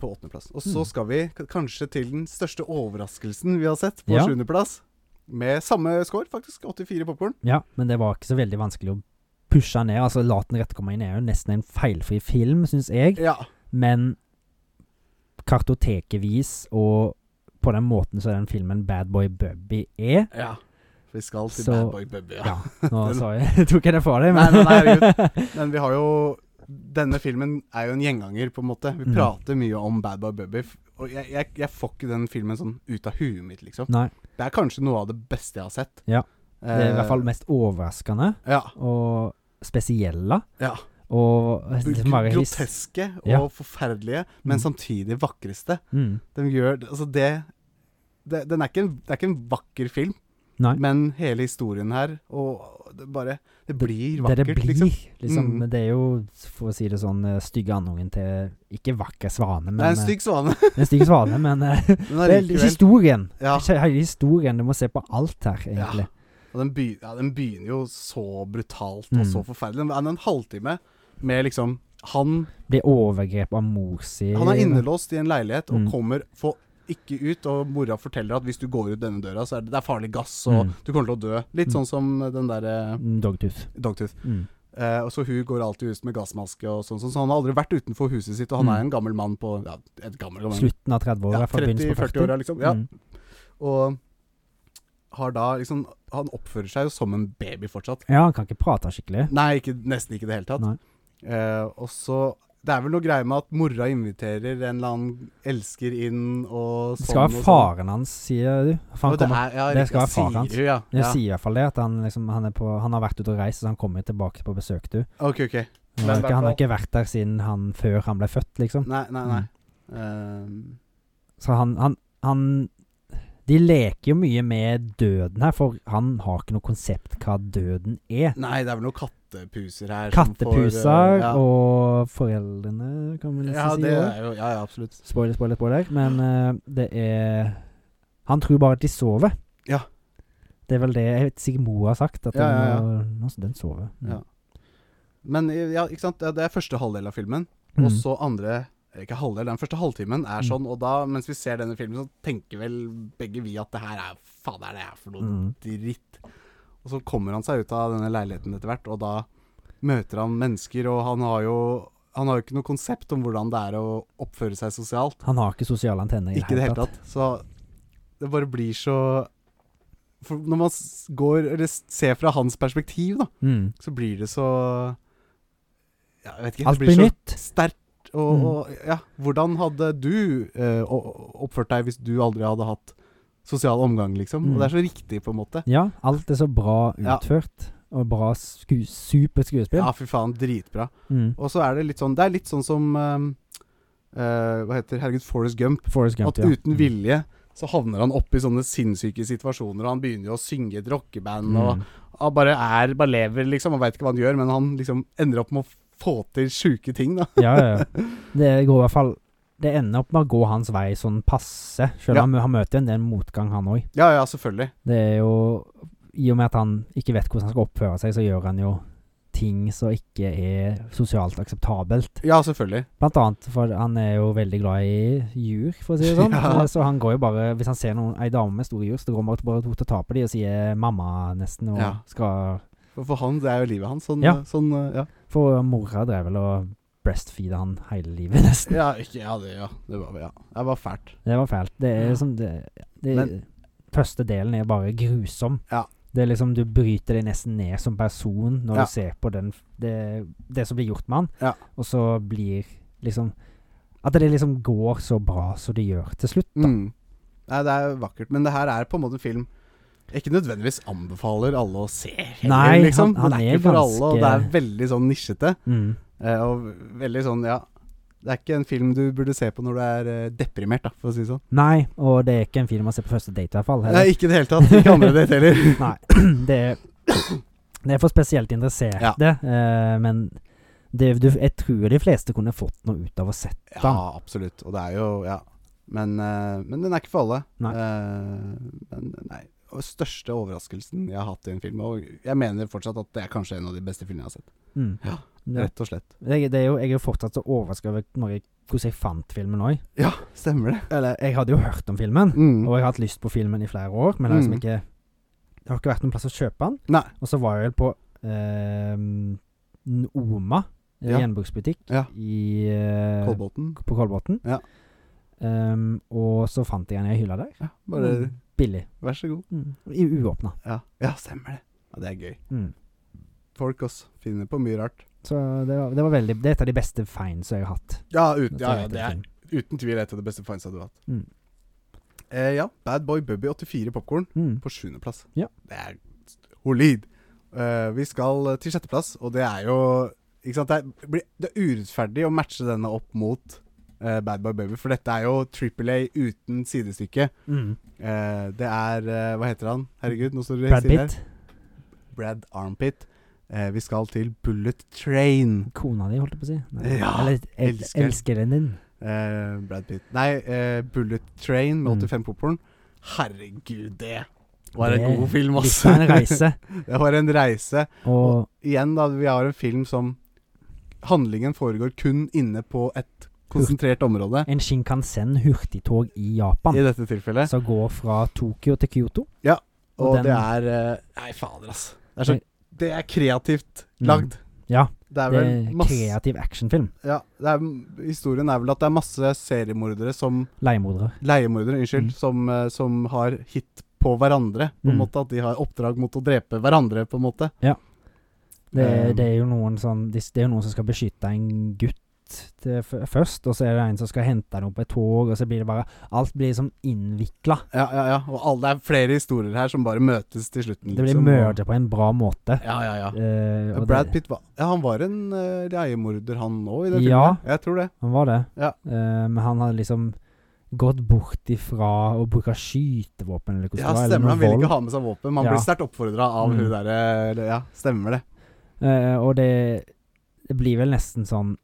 S1: På åttendeplass. Og så
S2: Mm.
S1: skal vi k- kanskje til den største overraskelsen vi har sett, på
S2: Ja.
S1: sjuendeplass. Med samme score, faktisk. 84 popkorn.
S2: Ja, men det var ikke så veldig vanskelig å pushe ned. Altså, La den rette komme inn er jo nesten en feilfri film, syns jeg.
S1: Ja.
S2: Men kartotekevis og på den måten så er den filmen Bad Boy Bubby er.
S1: ja. Vi skal til
S2: Så-
S1: Bad Boy Bubby, ja.
S2: Ja, nå sa jeg, tok jeg det fra deg,
S1: Nei,
S2: men
S1: nei, nei, herregud. Men vi har jo Denne filmen er jo en gjenganger, på en måte. Vi
S2: Mm.
S1: prater mye om Bad Boy Bubby. f- Og jeg, jeg, jeg får ikke den filmen sånn ut av huet mitt, liksom.
S2: Nei,
S1: Det er kanskje noe av det beste jeg har sett.
S2: Ja. det er i hvert fall
S1: Eh,
S2: mest overraskende
S1: Ja.
S2: og spesielle.
S1: ja.
S2: Og Mari His-
S1: Groteske og
S2: Ja.
S1: forferdelige, men
S2: Mm.
S1: samtidig vakreste.
S2: Mm.
S1: Den gjør Altså, det, det den er ikke en, Det er ikke en vakker film,
S2: Nei.
S1: men hele historien her Og det bare Det blir
S2: det
S1: vakkert,
S2: det blir,
S1: liksom.
S2: liksom.
S1: Mm.
S2: men Det er jo, for å si det sånn, eh, stygge andungen til Ikke vakker svane, men
S1: det er en
S2: eh,
S1: stygg svane,
S2: en stygg svane. Men eh,
S1: men
S2: det er
S1: allikevel
S2: historien.
S1: ja,
S2: Ikke Hele historien. Du må se på alt her, egentlig.
S1: og den, begy- ja, den begynner jo så brutalt
S2: Mm.
S1: og så forferdelig. Den er en halvtime med liksom Han,
S2: Blir overgrep av mor si.
S1: han er innelåst i en leilighet og
S2: Mm.
S1: kommer få ikke ut, og mora forteller at hvis du går ut denne døra, så er det, det er farlig gass, og
S2: Mm.
S1: du kommer til å dø. Litt
S2: Mm.
S1: sånn som den derre
S2: Mm, Dogtooth.
S1: Dogtooth.
S2: Mm.
S1: Eh, og så Hun går alltid ut med gassmaske, og sånn, sånn, så han har aldri vært utenfor huset sitt. Og han
S2: Mm.
S1: er en gammel mann på ja, et gammel, gammel
S2: Slutten av 30-åra,
S1: ja,
S2: fra begynnelsen på 40.
S1: 30-40-åra, liksom. Ja.
S2: Mm.
S1: Og har da liksom Han oppfører seg jo som en baby fortsatt.
S2: ja, han kan ikke prate skikkelig.
S1: Nei, ikke, nesten ikke i det hele tatt.
S2: Nei.
S1: Eh, og så Det er vel noe greie med at mora inviterer en eller annen elsker inn, og
S2: Det
S1: sånn
S2: skal være
S1: og sånn.
S2: faren hans, sier du. For han
S1: Og det,
S2: kommer,
S1: er, ja,
S2: det
S1: riktig,
S2: skal være
S1: sier
S2: faren hans.
S1: hun, Ja.
S2: jeg
S1: Ja.
S2: sier i hvert fall det, at han, liksom, han, er på, han har vært ute og reist, så han kommer tilbake på besøk, du.
S1: Ok, ok. Men
S2: Han har,
S1: i hvert
S2: ikke, han har
S1: fall-
S2: ikke vært der siden han før han ble født, liksom.
S1: Nei, nei, nei.
S2: Mm.
S1: Eh,
S2: Så han, han, han De leker jo mye med døden her, for han har ikke noe konsept hva døden er.
S1: nei, det er vel noen kattepuser her. som får, eh,
S2: Kattepuser
S1: ja.
S2: og foreldrene, kan vi nesten
S1: Ja,
S2: si.
S1: det
S2: også.
S1: er jo Ja, ja, absolutt.
S2: Spoiler, spoiler, spoiler. Men eh, det er Han tror bare at de sover.
S1: Ja.
S2: Det er vel det jeg vet sikkert Moa har sagt, at
S1: Ja, ja, ja.
S2: Den, må- den sover.
S1: eh, Ja. Men ja, ikke sant? Det er første halvdel av filmen,
S2: Mm.
S1: og så andre eller ikke halvdel, den første halvtimen er
S2: Mm.
S1: sånn, og da, mens vi ser denne filmen, så tenker vel begge vi at det her er faen er det her for noe
S2: Mm.
S1: dritt. Og så kommer han seg ut av denne leiligheten etter hvert, og da møter han mennesker, og han har jo han har jo ikke noe konsept om hvordan det er å oppføre seg sosialt.
S2: Han har ikke sosiale antenner i
S1: Ikke i det hele tatt. Så det bare blir så For når man s- går Eller s- ser fra hans perspektiv, da,
S2: Mm.
S1: så blir det så ja, jeg vet ikke,
S2: Alt
S1: det blir
S2: blir
S1: så
S2: nytt.
S1: sterkt. Og,
S2: Mm.
S1: og ja, hvordan hadde du eh, o- oppført deg hvis du aldri hadde hatt sosial omgang, liksom?
S2: Mm.
S1: Og det er så riktig, på en måte.
S2: Ja, alt er så bra
S1: Ja.
S2: utført. Og bra sku supert skuespill.
S1: Ja, fy faen, dritbra.
S2: Mm.
S1: Og så er det litt sånn Det er litt sånn som eh, eh, Hva heter Herregud, Forrest Gump.
S2: Forrest Gump,
S1: At
S2: ja. Mm.
S1: uten vilje så havner han oppi sånne sinnssyke situasjoner, og han begynner jo å synge et rockeband, og
S2: Mm.
S1: han bare er, bare lever, liksom. Han veit ikke hva han gjør, men han liksom ender opp med å få til sjuke ting, da.
S2: ja, ja, ja. Det går i hvert fall Det ender opp med å gå hans vei sånn passe. Selv
S1: Ja.
S2: om han møter en del motgang, han òg.
S1: Ja, ja, selvfølgelig.
S2: Det er jo I og med at han ikke vet hvordan han skal oppføre seg, så gjør han jo ting som ikke er sosialt akseptabelt.
S1: Ja, selvfølgelig.
S2: Blant annet for han er jo veldig glad i jur, for å si det sånn.
S1: Ja.
S2: Så han går jo bare Hvis han ser noen, ei dame med store jur, så går han bare bort og tar på dem og sier 'mamma', nesten, og
S1: Ja.
S2: skal
S1: For- For han, det er jo livet hans. Sånn,
S2: Ja.
S1: sånn eh, ja.
S2: For mora drev vel og breastfeeda han hele livet, nesten.
S1: Ja, ikke, ja, det, ja. det var ja. Det var fælt.
S2: Det var fælt. Det er
S1: Ja.
S2: liksom det, det
S1: Men-
S2: Første delen er bare grusom.
S1: Ja.
S2: Det er liksom Du bryter deg nesten ned som person når
S1: Ja.
S2: du ser på den, det, det som blir gjort med han,
S1: Ja.
S2: og så blir liksom At det liksom går så bra som det gjør til slutt.
S1: Mm. Nei, det er vakkert. Men det her er på en måte en film jeg ikke nødvendigvis anbefaler alle å se heller,
S2: Nei,
S1: liksom.
S2: han- han
S1: Den er,
S2: er
S1: ikke for alle, og det er
S2: ganske-
S1: veldig sånn nisjete.
S2: Mm.
S1: eh, Og veldig sånn, ja Det er ikke en film du burde se på når du er eh, deprimert, da, for å si det sånn.
S2: Nei, og det er ikke en film man ser på første date, i hvert fall.
S1: Nei,
S2: heller.
S1: ikke i det hele tatt. Ikke andre date heller.
S2: Nei. Det er, det er for spesielt interesserte, eh, men det, du, jeg tror de fleste kunne fått noe ut av å sett
S1: Ja, absolutt. Og det er jo Ja. Men, eh, men den er ikke for alle.
S2: Nei.
S1: Eh, men, nei. Og største overraskelsen jeg har hatt i en film, og jeg mener fortsatt at det er kanskje en av de beste filmene jeg har sett.
S2: mm.
S1: Ja.
S2: Det-
S1: Rett og slett.
S2: Jeg, det er jo, jeg er jo fortsatt så overrasket over når jeg, hvordan jeg fant filmen òg.
S1: Ja, stemmer det.
S2: Eller, jeg hadde jo hørt om filmen,
S1: Mm.
S2: og jeg har hatt lyst på filmen i flere år, men det har liksom
S1: Mm.
S2: ikke Det har ikke vært noen plass å kjøpe den.
S1: Nei.
S2: Og så var jeg vel på ehm, N- Oma, en
S1: Ja.
S2: gjenbruksbutikk
S1: Ja.
S2: i, eh,
S1: Kolbotn.
S2: på Kolbotn.
S1: Ja.
S2: Ehm, og så fant jeg den i hylla der.
S1: Ja, bare
S2: Mm, Billig.
S1: vær så god.
S2: Mm. I uåpna.
S1: Ja. ja, stemmer det. Ja, Det er gøy.
S2: Mm.
S1: Folk også finner på mye rart.
S2: Så det var, det var veldig Det er et av de beste finds jeg har hatt.
S1: Ja, ut,
S2: Dette
S1: ja,
S2: er
S1: ja
S2: et
S1: det er
S2: film.
S1: uten tvil et av de beste finesa du har hatt.
S2: Mm.
S1: Eh, ja, Bad Boy Bubby 84 Popkorn.
S2: Mm.
S1: på sjuendeplass.
S2: Ja.
S1: Det er solid. Eh, vi skal eh, til sjetteplass, og det er jo ikke sant? Det, er, blir- det er urettferdig å matche denne opp mot eh, Bad Boy Baby, for dette er jo Triple A uten sidestykke.
S2: Mm.
S1: Eh, det er eh, Hva heter han? Herregud, nå står det
S2: Brad
S1: stille her.
S2: Pitt.
S1: Brad Armpit. Eh, vi skal til Bullet Train.
S2: Kona di, holdt jeg på å si. Nei.
S1: Ja,
S2: Eller el
S1: elsker.
S2: elskeren din.
S1: Eh, Brad Pitt Nei, eh, Bullet Train med
S2: Mm.
S1: 85 popkorn. Herregud, det var en
S2: Det-
S1: god film,
S2: Litt
S1: ass.
S2: av en reise.
S1: det var en reise.
S2: Og
S1: igjen da, vi har en film som Handlingen foregår kun inne på et konsentrert område,
S2: en Shinkansen hurtigtog i Japan
S1: i dette tilfellet.
S2: som går fra Tokyo til Kyoto. og
S1: Og
S2: den-
S1: det er eh, Nei, fader, ass. Det er, så,
S2: Det-
S1: det er kreativt
S2: Mm.
S1: lagd.
S2: Ja,
S1: Det er
S2: det
S1: vel
S2: er
S1: masse
S2: kreativ actionfilm.
S1: ja, det er, Historien er vel at det er masse seriemordere som
S2: Leiemordere.
S1: Leiemordere, unnskyld,
S2: Mm.
S1: som, eh, som har hit på hverandre. På en
S2: Mm.
S1: måte At de har oppdrag mot å drepe hverandre, på en måte.
S2: Ja. Det, er-
S1: Eh,
S2: det er jo noen sånn Det det er jo noen som skal beskytte en gutt til, f først, og så er det en som skal hente noe på et tog, og så blir det bare Alt blir liksom innvikla.
S1: ja, ja, ja. Og alle, det er flere historier her som bare møtes til slutten.
S2: Det blir
S1: liksom, og-
S2: mørdet på en bra måte.
S1: Ja, ja, ja.
S2: Eh,
S1: Ja,
S2: og
S1: Brad
S2: det-
S1: Pitt var, ja, han var en uh, leiemorder, han òg, i den
S2: Ja.
S1: filmen. Jeg tror det.
S2: Han var det.
S1: Ja.
S2: Eh, men han hadde liksom gått bort ifra å bruke skytevåpen eller hvordan
S1: Ja,
S2: det var. eller
S1: stemmer.
S2: noe
S1: Han ville ikke
S2: vold.
S1: ha med seg våpen, men han
S2: Ja.
S1: blir sterkt oppfordra av
S2: Mm.
S1: hun derre eller, Ja, stemmer det.
S2: Eh, og det, det blir vel nesten sånn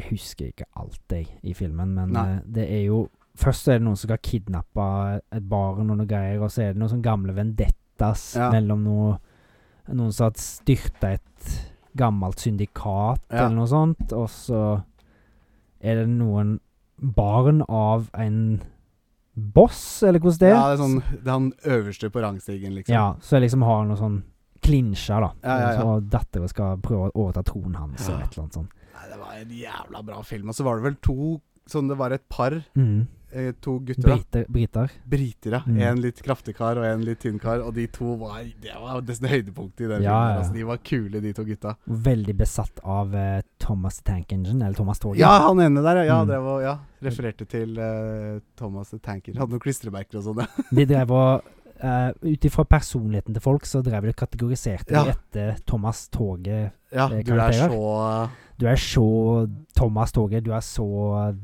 S2: Jeg husker ikke alt jeg i filmen, men
S1: Nei.
S2: eh, det er jo Først så er det noen som skal kidnappe et barn og noe greier, og så er det noen sånn gamle vendettas
S1: Ja.
S2: mellom noe Noen som har styrta et gammelt syndikat
S1: Ja.
S2: eller noe sånt, og så Er det noen barn av en boss, eller hvordan det
S1: Ja, det er sånn Det er han øverste på rangstigen, liksom.
S2: Ja, så jeg liksom har noe sånn klinsjer, da.
S1: Ja, ja, ja.
S2: Så dattera skal prøve å overta tronen hans, og
S1: Ja.
S2: et eller annet sånt.
S1: Nei, det var en jævla bra film. Og så var det vel to Sånn, det var et par.
S2: Mm.
S1: Eh, to gutter, da.
S2: Briter, briter.
S1: Briter, ja.
S2: Mm.
S1: En litt kraftig kar og en litt tynn kar. Og de to var Det var nesten høydepunktet i den filmen.
S2: Ja, ja.
S1: Altså, de var kule, de to gutta.
S2: Veldig besatt av eh, Thomas the Tank Engine, eller Thomas Toget.
S1: Ja, han ene der, ja. ja,
S2: Mm.
S1: drev og- ja. Refererte til eh, Thomas the Tanker. Hadde noen klistremerker og sånn. ja.
S2: De drev og uh, Ut ifra personligheten til folk, så drev de og kategoriserte
S1: Ja.
S2: de etter Thomas Toget.
S1: Ja,
S2: Det
S1: du er
S2: karakterer.
S1: så
S2: Du er så Thomas Toget, du er så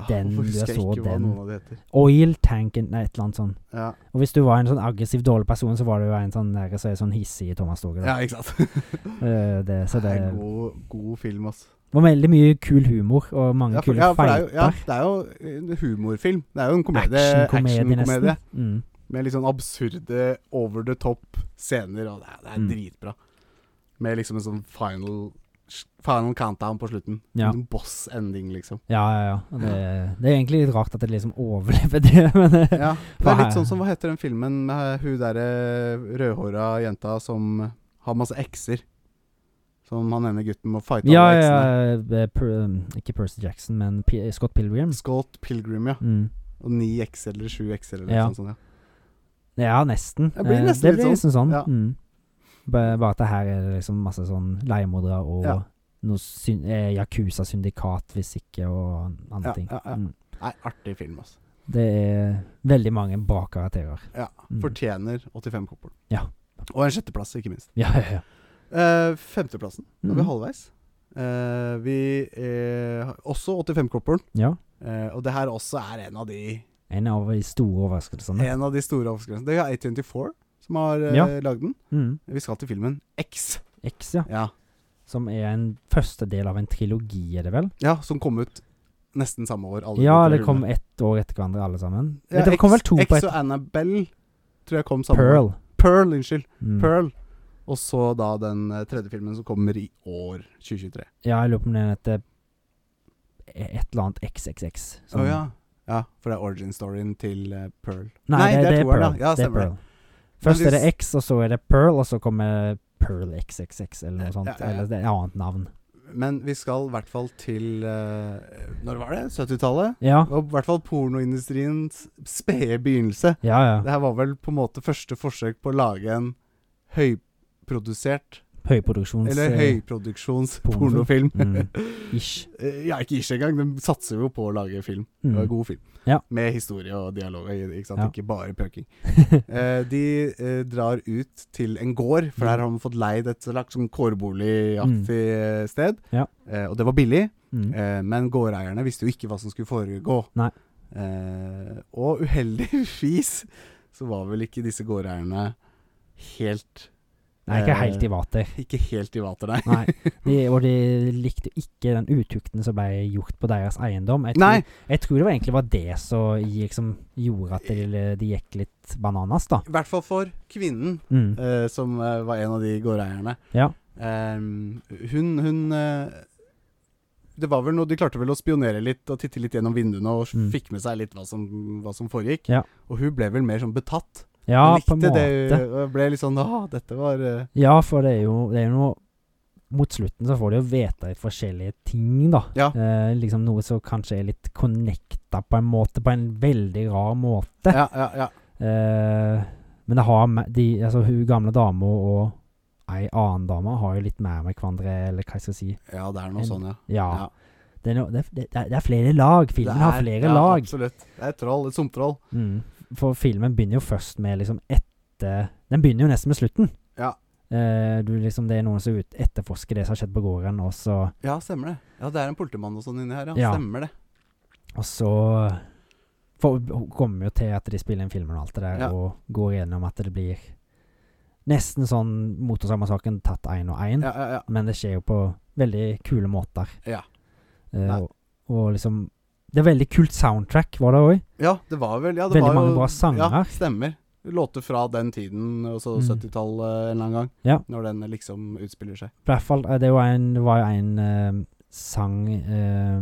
S1: Ah,
S2: Den
S1: Hvorfor husker
S2: jeg
S1: jeg
S2: så
S1: ikke hva
S2: den.
S1: noen av de heter?
S2: Oil Tank Engine, nei, et eller annet sånt.
S1: Ja,
S2: Og hvis du var en sånn aggressiv, dårlig person, så var du jo en sånn der, så er sånn hissig Thomas Toget. da.
S1: ja ikke sant?
S2: Eh, det, så
S1: Det
S2: det
S1: er en god, god film, altså.
S2: var veldig mye kul humor, og mange
S1: Ja, for,
S2: kule
S1: ja, for det, er jo,
S2: fighter.
S1: ja, det er jo en humorfilm. Det er jo en komedie.
S2: Actionkomedie, nesten.
S1: Actionkomedie.
S2: Mm.
S1: Med litt sånn absurde, over the top scener, og det er, det er
S2: Mm.
S1: dritbra. Med liksom en sånn final Final countdown på slutten.
S2: Ja.
S1: En sånn boss-ending, liksom.
S2: Ja, ja, ja. Og Det, det er egentlig litt rart at det liksom overlever det, men eh,
S1: Ja, det er
S2: Hva
S1: litt
S2: er-
S1: sånn som Hva heter den filmen med hun derre rødhåra jenta som har masse ekser? Som han ene gutten må fighte
S2: Ja,
S1: alle
S2: ja,
S1: eksene.
S2: eh, per, ikke Percy Jackson, men P eh, Scott Pilgrim.
S1: Scott Pilgrim, ja.
S2: Mm.
S1: Og ni ekser eller sju ekser eller noe
S2: Ja.
S1: sånt. sånt, ja.
S2: Ja, nesten.
S1: Det blir
S2: Eh,
S1: nesten
S2: det
S1: litt
S2: blir liksom sånn.
S1: ja.
S2: Mm. Ba- Bare at det her er det liksom masse sånn leiemordere og
S1: Ja.
S2: noe syn eh, Yakuza-syndikat, hvis ikke, og andre
S1: Ja,
S2: ting.
S1: ja, ja.
S2: Mm.
S1: Nei, artig film, altså.
S2: Det er veldig mange bra karakterer.
S1: Ja,
S2: Mm.
S1: Fortjener 85 koppel.
S2: Ja.
S1: Og en sjetteplass, ikke minst.
S2: Ja, ja, ja.
S1: Eh, femteplassen. Nå er
S2: Mhm.
S1: vi halvveis. Eh, vi eh, har også 85-koppelen.
S2: ja.
S1: Eh, og det her også er en av de
S2: En av de store overraskelsene.
S1: En av de store overskridelsene. Det er A24 som har eh,
S2: Mm. Ja.
S1: lagd den.
S2: Mm.
S1: Vi skal til filmen X.
S2: X, ja.
S1: Ja.
S2: Som er en første del av en trilogi, er det vel?
S1: ja, som kom ut nesten samme år. alle
S2: Ja,
S1: de tre
S2: det kom
S1: filmene.
S2: ett år etter hverandre, alle sammen.
S1: ja,
S2: det kom vel to
S1: X,
S2: på
S1: X
S2: ett.
S1: og Annabelle tror jeg kom samme år.
S2: Pearl.
S1: Pearl, unnskyld.
S2: Mm.
S1: Pearl. Og så da den eh, tredje filmen som kommer i år 2023.
S2: Ja, jeg lurer på om den heter eh, et eller annet XXX.
S1: Å
S2: sånn.
S1: ja. ja. For det er origin-storyen til eh, Pearl.
S2: Nei, det, det er
S1: toeren,
S2: Pearl.
S1: da. Ja,
S2: det er
S1: stemmer det.
S2: Pearl. Først
S1: Men de
S2: er det X, og så er det Pearl, og så kommer Pearl XXX eller noe sånt.
S1: Ja, ja, ja.
S2: Eller det er et annet navn.
S1: Men vi skal i hvert fall til eh, Når var det? 70-tallet?
S2: Ja,
S1: Og i hvert fall pornoindustriens spede begynnelse.
S2: ja. ja.
S1: Det her var vel på en måte første forsøk på å lage en høyprodusert
S2: Høyproduksjons...
S1: Eller
S2: eh,
S1: høyproduksjons
S2: pornofilm.
S1: pornofilm.
S2: Mm. Ish.
S1: Eh, ja, ikke ikke engang. De satser jo på å lage film. Det var en
S2: Mm.
S1: god film.
S2: Ja.
S1: Med historie og dialog. i det, Ikke, sant?
S2: Ja.
S1: ikke bare pøking. Eh, de eh, drar ut til en gård, for
S2: Mm.
S1: der har de fått leid et slags sånn kårboligaktig eh, sted.
S2: Ja.
S1: Eh, og det var billig,
S2: Mm.
S1: eh, men gårdeierne visste jo ikke hva som skulle foregå.
S2: Nei.
S1: Eh, og uheldigvis så var vel ikke disse gårdeierne helt
S2: Nei, ikke
S1: eh,
S2: helt i vater.
S1: Ikke helt i vater, nei.
S2: Nei. De, og de likte jo ikke den utukten som ble gjort på deres eiendom. Jeg tror,
S1: Nei.
S2: Jeg tror det var egentlig var det som liksom gjorde at de, de gikk litt bananas, da.
S1: I hvert fall for kvinnen,
S2: Mm.
S1: eh, som eh, var en av de gårdeierne.
S2: Ja.
S1: Ehm, hun hun eh, Det var vel noe De klarte vel å spionere litt og titte litt gjennom vinduene og
S2: Mm.
S1: fikk med seg litt hva som, hva som foregikk.
S2: Ja.
S1: Og hun ble vel mer sånn betatt.
S2: Ja,
S1: hun
S2: på en måte.
S1: det og ble litt sånn Å, dette var eh,
S2: Ja, for det er jo, det er jo noe Mot slutten så får du jo vite forskjellige ting, da.
S1: Ja.
S2: Eh, liksom noe som kanskje er litt connecta på en måte, på en veldig rar måte.
S1: Ja, ja, ja.
S2: Eh, men det har med, de, altså hun gamle dama og ei annen dame har jo litt mer med hverandre, eller hva jeg skal si.
S1: Ja, det er
S2: En-
S1: noe sånn, ja.
S2: Ja.
S1: Ja.
S2: Det, er no, det, det, det er flere lag. Filmen
S1: Det
S2: har
S1: er-
S2: flere
S1: ja,
S2: lag.
S1: Absolutt. Det er et troll. Et sumptroll.
S2: Mm. For filmen begynner jo først med liksom etter Den begynner jo nesten med slutten.
S1: Ja.
S2: Eh, du liksom, det er noen som ut- etterforsker det som har skjedd på gården, og så
S1: Ja, stemmer det. Ja, det er en politimann og sånn inni her, ja.
S2: Ja.
S1: Stemmer det.
S2: Og så for, hun kommer jo til at de spiller inn filmen og alt det der,
S1: Ja.
S2: og går gjennom at det blir nesten sånn motorsagmassakren tatt én og én,
S1: Ja, ja, ja.
S2: men det skjer jo på veldig kule måter.
S1: Ja.
S2: Eh,
S1: Nei.
S2: og, og liksom Det er veldig kult soundtrack, var det òg.
S1: Ja, det var vel ja, det
S2: Veldig
S1: var jo,
S2: mange bra sanger.
S1: Ja, stemmer. Låter fra den tiden, og så
S2: Mm.
S1: 70-tallet en eller annen gang.
S2: Ja.
S1: Når den liksom utspiller seg.
S2: I hvert fall eh, Det var jo en, det var jo en eh, sang eh,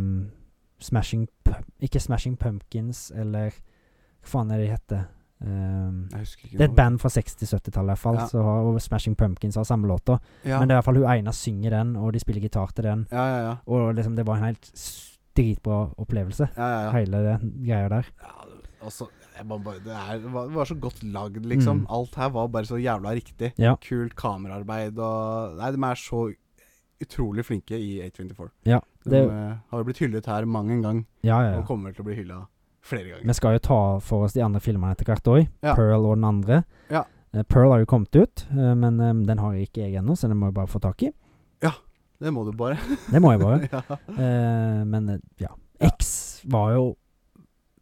S2: Smashing Pu- Ikke Smashing Pumpkins, eller hva faen er det de heter? Ehm,
S1: Jeg husker ikke
S2: det er et
S1: noe.
S2: band fra 60-70-tallet, i hvert fall.
S1: Ja.
S2: Så har, og Smashing Pumpkins har samme låta.
S1: Ja.
S2: Men det er i hvert fall hun ene synger den, og de spiller gitar til den.
S1: ja, ja, ja.
S2: Og liksom, det var en helt s- dritbra opplevelse,
S1: ja, ja, ja.
S2: hele det greia der.
S1: ja og så- jeg må bare, det, er, det var- det var så godt lagd, liksom.
S2: Mm.
S1: Alt her var bare så jævla riktig.
S2: Ja.
S1: Kult kameraarbeid og Nei, de er så utrolig flinke i A24.
S2: Ja,
S1: De
S2: det-
S1: eh, har blitt hyllet her mang en gang,
S2: Ja, ja, ja.
S1: og kommer til å bli hylla flere ganger.
S2: Vi skal jo ta for oss de andre filmene etter hvert òg.
S1: Ja.
S2: Pearl og den andre.
S1: Ja.
S2: Eh, Pearl har jo kommet ut, eh, men eh, den har jeg ikke jeg ennå, så den må jeg bare få tak i.
S1: Det må du bare.
S2: Det må jeg bare.
S1: ja.
S2: Eh, men eh, ja.
S1: Ja.
S2: X var jo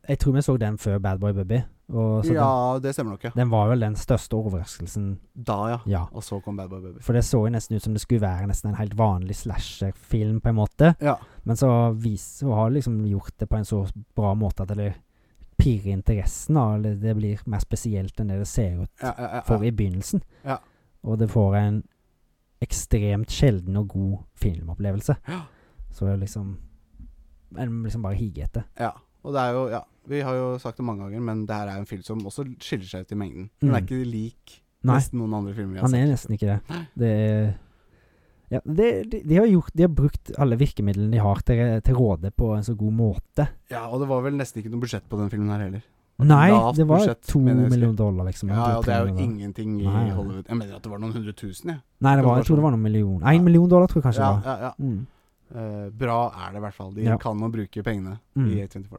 S2: Jeg tror vi så den før Bad Boy Bubby. Og så den,
S1: ja, det stemmer nok, ja.
S2: den var vel den største overraskelsen,
S1: Da, ja.
S2: ja.
S1: Og så kom Bad Boy Baby.
S2: For det så jo nesten ut som det skulle være nesten en helt vanlig slasherfilm, på en måte.
S1: Ja.
S2: Men så, vis, så har liksom gjort det på en så bra måte at det pirrer interessen. da, eller Det blir mer spesielt enn det det ser ut
S1: Ja, ja, ja,
S2: for
S1: ja.
S2: i begynnelsen.
S1: Ja.
S2: Og det får en ekstremt sjelden og god filmopplevelse.
S1: Ja.
S2: Så det er liksom En liksom bare higer etter.
S1: ja. Og det er jo Ja, vi har jo sagt det mange ganger, men det her er en film som også skiller seg ut i mengden. Den er
S2: Mm.
S1: ikke lik
S2: Nei,
S1: nesten noen andre filmer vi har
S2: han er
S1: sett.
S2: nesten ikke det. Det er ja, det, de, de, har gjort, de har brukt alle virkemidlene de har til, til råde på en så god måte.
S1: Ja, og det var vel nesten ikke noe budsjett på den filmen her heller.
S2: Nei,
S1: lavt
S2: det var
S1: budsjett,
S2: to
S1: mener jeg å huske.
S2: millioner dollar, liksom.
S1: Ja, ja,
S2: to-tre
S1: det er jo
S2: millioner.
S1: ingenting i
S2: Nei, nei.
S1: Hollywood. Jeg mener at det var noen hundre tusen, jeg.
S2: Nei, det
S1: Det
S2: var,
S1: var
S2: jeg tror det
S1: sånn.
S2: var noen million.
S1: Ja.
S2: Én million dollar, tror jeg kanskje
S1: Ja,
S2: det var.
S1: ja, ja.
S2: Mm.
S1: Eh, bra er det i hvert fall. De
S2: Ja.
S1: kan å bruke pengene
S2: Mm.
S1: i A24.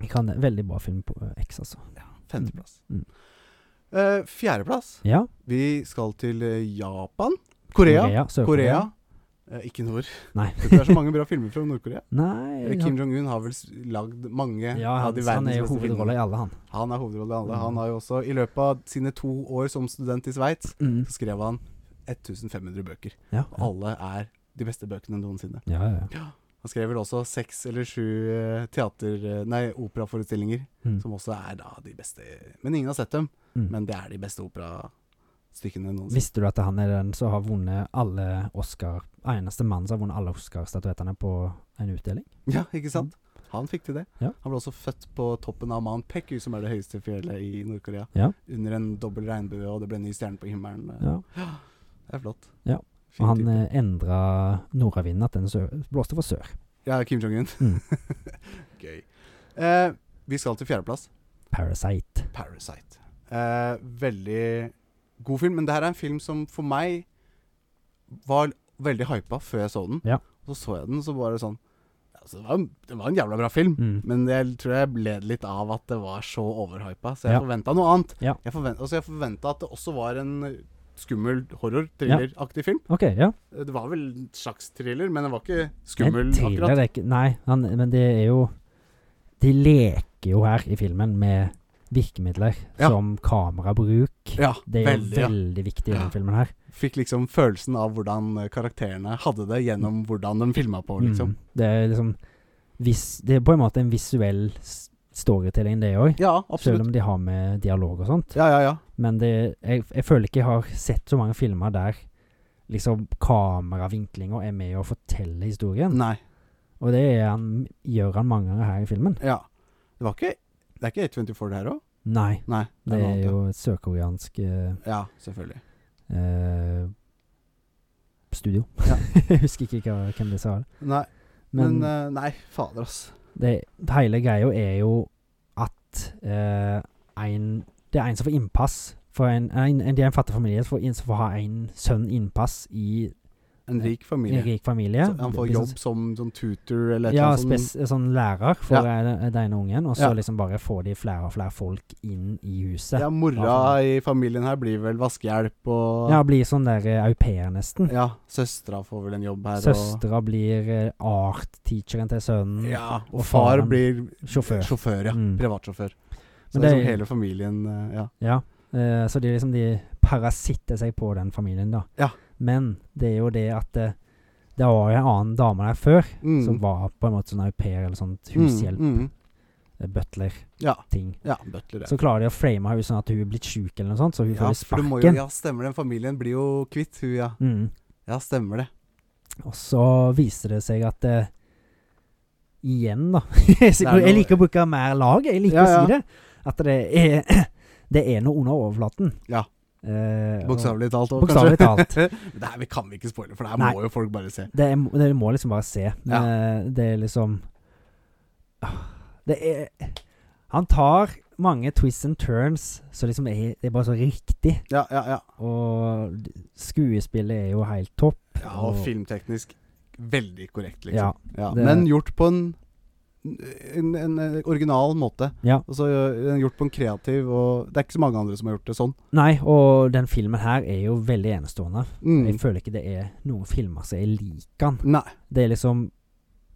S2: Jeg kan veldig bra film på eh, X, altså.
S1: Femteplass.
S2: Mm.
S1: Eh, Fjerdeplass.
S2: Ja.
S1: Vi skal til eh, Japan. Korea.
S2: Sør-Korea.
S1: Korea. Eh, ikke nord.
S2: Nei.
S1: Jeg tror det er så mange bra filmer fra Nord-Korea.
S2: Nei
S1: Eh,
S2: han-
S1: Kim Jong-un har vel s- lagd mange
S2: Ja,
S1: av
S2: han,
S1: de
S2: han er
S1: verdens
S2: jo
S1: beste
S2: hovedrolle
S1: filmene.
S2: i alle, han.
S1: Han er hovedrolle i alle.
S2: Mm.
S1: Han har jo også, i løpet av sine to år som student i Sveits, så skrev han 1500 bøker.
S2: Ja,
S1: Og Mm. alle er de beste bøkene noensinne.
S2: ja, ja, ja.
S1: Han skrev vel også seks eller sju eh, teater... eh, Nei, operaforestillinger,
S2: Mm.
S1: som også er da de beste Men ingen har sett dem,
S2: Mm.
S1: men det er de beste operastykkene noensinne.
S2: Visste du at han er den som har vunnet alle Oscar Eneste mannen som har vunnet alle Oscar-statuettene på en utdeling?
S1: Ja, ikke sant? Han fikk til det.
S2: Ja.
S1: Han ble også født på toppen av Mount Peku, som er det høyeste fjellet i Nord-Korea.
S2: Ja.
S1: Under en dobbel regnbue, og det ble en ny stjerne på himmelen.
S2: Ja.
S1: Det er flott.
S2: Ja.
S1: Fin
S2: Og han
S1: type.
S2: eh, endra nordavinden, at den sø blåste for sør.
S1: Ja, Kim Jong-un.
S2: Mm.
S1: Gøy. Eh, vi skal til fjerdeplass.
S2: Parasite.
S1: Parasite. Eh, veldig god film, men det her er en film som for meg var veldig hypa før jeg så den.
S2: Ja.
S1: Og så så jeg den, så var det sånn altså, det, var en, det var en jævla bra film.
S2: Mm.
S1: Men jeg tror jeg led litt av at det var så overhypa, så jeg
S2: Ja.
S1: forventet forventa noe annet.
S2: Ja.
S1: Jeg forvent, altså jeg forventa at det også var en skummel horror-thrilleraktig film.
S2: OK, ja.
S1: Det var vel en slags thriller, men den var ikke
S2: En
S1: skummel
S2: thriller
S1: akkurat.
S2: er ikke Nei, han, men det er jo De leker jo her i filmen med virkemidler
S1: Ja.
S2: som kamerabruk.
S1: Ja,
S2: Det er
S1: veldig.
S2: jo
S1: Ja.
S2: veldig viktig i
S1: Ja.
S2: denne filmen her.
S1: Fikk liksom følelsen av hvordan eh, karakterene hadde det gjennom hvordan de filma på, liksom.
S2: Mm. Det er liksom vis, Det er på en måte en visuell s- storytelling, det òg.
S1: Ja,
S2: Selv
S1: absolutt.
S2: om de har med dialog og sånt.
S1: Ja, ja, ja.
S2: Men det, jeg, jeg føler ikke jeg har sett så mange filmer der liksom kameravinklinga er med å fortelle historien.
S1: Nei.
S2: Og det er han, gjør han mange ganger her i filmen.
S1: Ja. Det var ikke Det er ikke 824 det her òg?
S2: Nei.
S1: Nei.
S2: Det
S1: noe
S2: er
S1: annet,
S2: jo et sørkoreansk eh,
S1: ja. Ja, selvfølgelig.
S2: eh, studio.
S1: Ja.
S2: jeg husker ikke hva, hvem det sa.
S1: Nei, men,
S2: Men,
S1: eh, Nei, fader, ass.
S2: det, hele greia er jo at eh, en, det er en som får innpass. For en, en, en, de er en fattig familie som får, inn- som får ha en sønn innpass i
S1: En rik
S2: en
S1: familie.
S2: rik familie.
S1: Så han får
S2: Det blir
S1: jobb
S2: sånn-
S1: som, som tutor eller et
S2: Ja,
S1: eller annet
S2: spes,
S1: sånt.
S2: sånn lærer for
S1: Ja.
S2: eh, den ene ungen, og så
S1: Ja.
S2: liksom bare får de flere og flere folk inn i huset.
S1: Ja,
S2: Ja, sånn.
S1: mora i familien her blir vel vaskehjelp og Ja,
S2: blir sånn der eh, au pair, nesten.
S1: søstera får vel en jobb her
S2: Søstera blir eh, art-teacheren til sønnen.
S1: og Mm. Ja, og
S2: og
S1: far
S2: faren
S1: blir
S2: Sjåfør.
S1: ja.
S2: Mm.
S1: Privatsjåfør. Så det er
S2: Men det-
S1: liksom hele familien eh, Ja.
S2: Ja, eh, så de liksom de parasitter seg på den familien, da.
S1: Ja.
S2: Men det er jo det at eh, det var jo en annen dame der før
S1: Mm.
S2: som var på en måte sånn au pair eller sånt
S1: Mm,
S2: hushjelp,
S1: mm.
S2: eh, butler-ting.
S1: Ja. ja. Butler, ja.
S2: Så klarer de å frame henne sånn at hun er blitt sjuk eller noe sånt, så hun
S1: ja,
S2: får jo
S1: for du må jo,
S2: sparken.
S1: ja, stemmer den familien blir jo kvitt hun, ja.
S2: Mm.
S1: Ja, stemmer det.
S2: Og så viser det seg at eh, Igjen, da. jeg
S1: er noe-
S2: liker å bruke mer lag. Jeg liker
S1: Ja,
S2: å
S1: ja.
S2: si det. At det er, det er noe under overflaten.
S1: Ja.
S2: Eh, og-
S1: Bokstavelig talt òg,
S2: Bokstavelig talt.
S1: det her vi kan vi ikke spoile, for det her
S2: Nei.
S1: må jo folk bare se.
S2: Det, er, det må liksom bare se.
S1: Ja.
S2: Eh, Det er liksom Ah, Det er Han tar mange twists and turns, så liksom er, det er bare så riktig.
S1: Ja, ja, ja.
S2: Og d- skuespillet er jo helt topp.
S1: ja og
S2: Og-
S1: filmteknisk veldig korrekt,
S2: Ja.
S1: liksom. Ja,
S2: det-
S1: men gjort på en, en, en original måte.
S2: Ja.
S1: Og så eh, gjort på en kreativ og Det er ikke så mange andre som har gjort det sånn.
S2: Nei, og den filmen her er jo veldig enestående.
S1: Mm.
S2: Jeg føler ikke det er noen filmer som er lik den.
S1: Nei.
S2: Det er liksom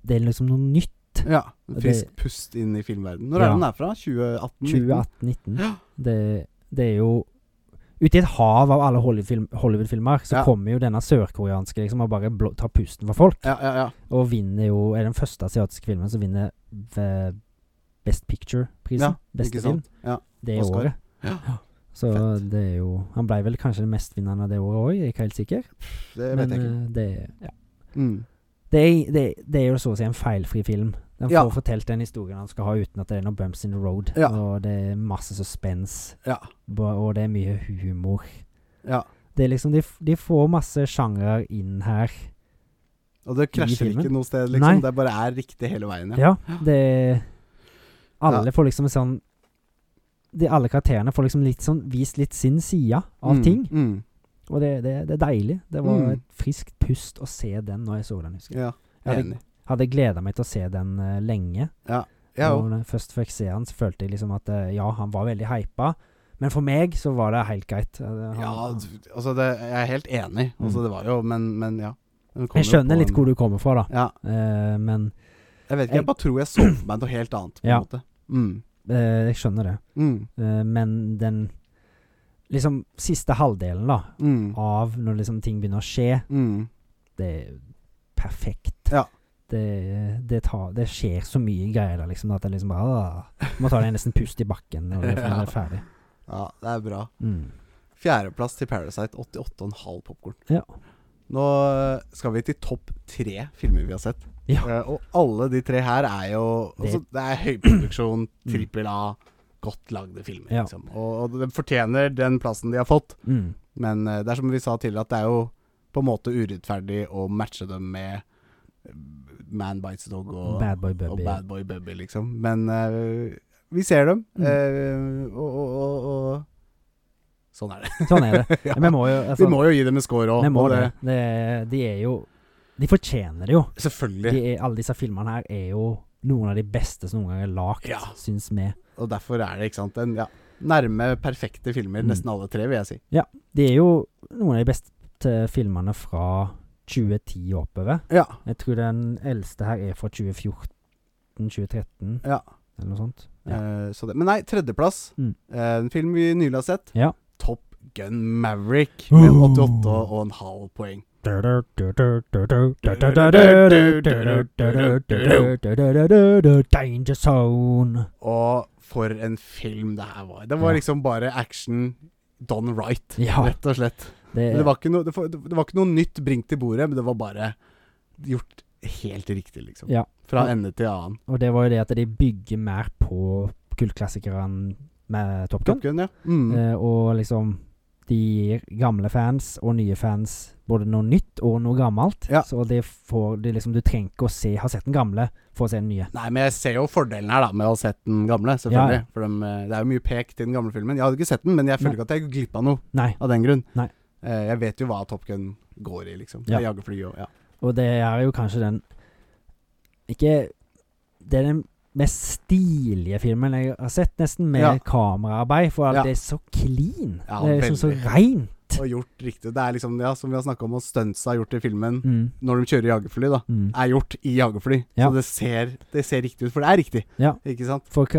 S2: Det er liksom noe nytt.
S1: Ja.
S2: Det-
S1: Frisk pust inn i filmverdenen. Når
S2: Ja.
S1: er den herfra? 2018?
S2: 2018-19.
S1: Ja.
S2: Det, det er jo Ute i et hav av alle Hollywood-film- Hollywood-filmer, så
S1: Ja.
S2: kommer jo denne sørkoreanske liksom og bare blå, tar pusten fra folk.
S1: Ja, ja, ja.
S2: Og vinner jo Er den første asiatiske filmen som vinner eh, Best Picture-prisen.
S1: Ja,
S2: beste
S1: ikke
S2: film.
S1: sant? Ja.
S2: Det
S1: Oscar.
S2: året.
S1: Ja.
S2: Så
S1: Fett.
S2: det er jo Han ble vel kanskje den mestvinneren av det året òg, jeg er ikke helt sikker.
S1: Det vet
S2: Men
S1: jeg ikke.
S2: eh, det, er- ja.
S1: Mm.
S2: det, er, det, det er jo så å si en feilfri film. Den
S1: Ja.
S2: får fortalt den historien han skal ha uten at det er noen bumps in the road.
S1: Ja.
S2: Og det er masse suspens.
S1: Ja.
S2: Ba- Og det er mye humor.
S1: ja.
S2: Det er liksom, de, f- de får masse sjangre inn her.
S1: Og det krasjer
S2: filmen?
S1: ikke noe sted,
S2: Nei.
S1: liksom. Det bare er riktig hele veien. Ja.
S2: Ja, det Alle får liksom en sånn de, Alle karakterene får liksom litt sånn vist litt sin side av
S1: Mm,
S2: ting.
S1: Mm.
S2: Og det, det, det er deilig. Det var
S1: Mm.
S2: et friskt pust å se den når jeg så den. husker jeg.
S1: Ja,
S2: Ja, det-
S1: enig.
S2: Hadde gleda meg til å se den eh, lenge.
S1: Ja,
S2: og når jeg først fikk se han, så følte jeg liksom at eh, ja, han var veldig hypa. Men for meg så var det helt greit. Eh, han-
S1: ja d- altså det, jeg er helt enig. Altså
S2: Mm.
S1: det var jo, men, men ja. Den kom
S2: jeg
S1: jo på
S2: skjønner litt
S1: en-
S2: hvor du kommer fra, da.
S1: Ja,
S2: Eh, men
S1: jeg vet ikke.
S2: Jeg-
S1: Jeg bare tror jeg så for meg noe helt annet, på en
S2: Ja.
S1: måte. Mm.
S2: eh, jeg skjønner det.
S1: Mm.
S2: Eh, men den liksom siste halvdelen da
S1: Mm.
S2: av når liksom ting begynner å skje,
S1: Mm.
S2: det er perfekt.
S1: Ja.
S2: Det, det, tar, det skjer så mye greier der, liksom, at det liksom bare ah, Må ta deg nesten pust i bakken når det når det er ferdig.
S1: Ja, det er bra.
S2: Mm.
S1: Fjerdeplass til Parasite. 88,5 popkorn.
S2: Ja.
S1: Nå eh, skal vi til topp tre filmer vi har sett.
S2: Ja.
S1: Eh, og alle de tre her er jo
S2: Det- Mm.
S1: altså, Det er høyproduksjon, trippel A, godt lagde filmer.
S2: Ja.
S1: Liksom. Og, og de fortjener den plassen de har fått.
S2: Mm.
S1: Men eh, det er som vi sa tidligere, at det er jo på en måte urettferdig å matche dem med eh, Man Bites Dog og
S2: Bad Boy
S1: og
S2: Bubby.
S1: Bad Boy Bubby, liksom. Men eh, vi ser dem,
S2: Mm.
S1: eh, og, og, og, og sånn er det.
S2: Sånn er det.
S1: Ja.
S2: Men vi må jo altså,
S1: Vi må jo gi dem en score òg.
S2: vi må det. det. De er jo De fortjener det jo. De
S1: Selvfølgelig.
S2: er, alle disse filmene her er jo noen av de beste som noen gang er lagd,
S1: Ja.
S2: syns vi.
S1: Og derfor er det ikke sant, en ja, nærme perfekte filmer,
S2: Mm.
S1: nesten alle tre, vil jeg si.
S2: De er jo noen av de beste filmene fra 2010 og oppover.
S1: Ja.
S2: Jeg tror den eldste her er fra 2014-2013,
S1: ja.
S2: eller noe sånt. Ja.
S1: Eh, så det. Men nei, tredjeplass.
S2: Mm.
S1: Eh, en film vi nylig har sett.
S2: Ja.
S1: Top Gun Maverick med
S2: Oh.
S1: 88,5 poeng.
S2: Danger zone.
S1: Og for en film det her var. Det var
S2: Ja.
S1: liksom bare action done right,
S2: Ja.
S1: rett og slett.
S2: Det,
S1: Men det var, ikke noe, det, var- det var ikke noe nytt bringt til bordet, men det var bare gjort helt riktig, liksom.
S2: Ja.
S1: Fra ende til annen.
S2: og det var jo det at de bygger mer på kultklassikeren med Top Gun.
S1: Top Gun, ja. Mm.
S2: Eh, og liksom de gir gamle fans og nye fans både noe nytt og noe gammelt.
S1: Ja.
S2: Så det får det liksom, du trenger ikke å se, ha sett den gamle for å se den nye.
S1: Nei, men jeg ser jo fordelen her da med å ha sett den gamle,
S2: Ja,
S1: selvfølgelig.
S2: ja.
S1: For dem, eh, det er jo mye pek til den gamle filmen. Jeg hadde ikke sett den, men jeg føler ikke at jeg gikk glipp av noe
S2: Nei.
S1: av den grunn.
S2: Nei.
S1: Eh, Jeg vet jo hva Top Gun går i, liksom.
S2: Ja.
S1: Det er jagerfly og ja.
S2: Og det er jo kanskje den Ikke Det er den mest stilige filmen jeg har sett, nesten, med
S1: Ja.
S2: kameraarbeid. For
S1: Ja.
S2: det er så clean.
S1: Ja,
S2: det er liksom så
S1: veldig.
S2: reint.
S1: Og gjort riktig. Det er liksom, ja, som vi har snakka om, og stuntsa gjort i filmen
S2: Mm,
S1: når de kjører jagerfly, da.
S2: mm.
S1: Er gjort i jagerfly.
S2: Ja.
S1: Så det ser, det ser riktig ut, for det er riktig.
S2: Ja.
S1: Ikke sant?
S2: For eh,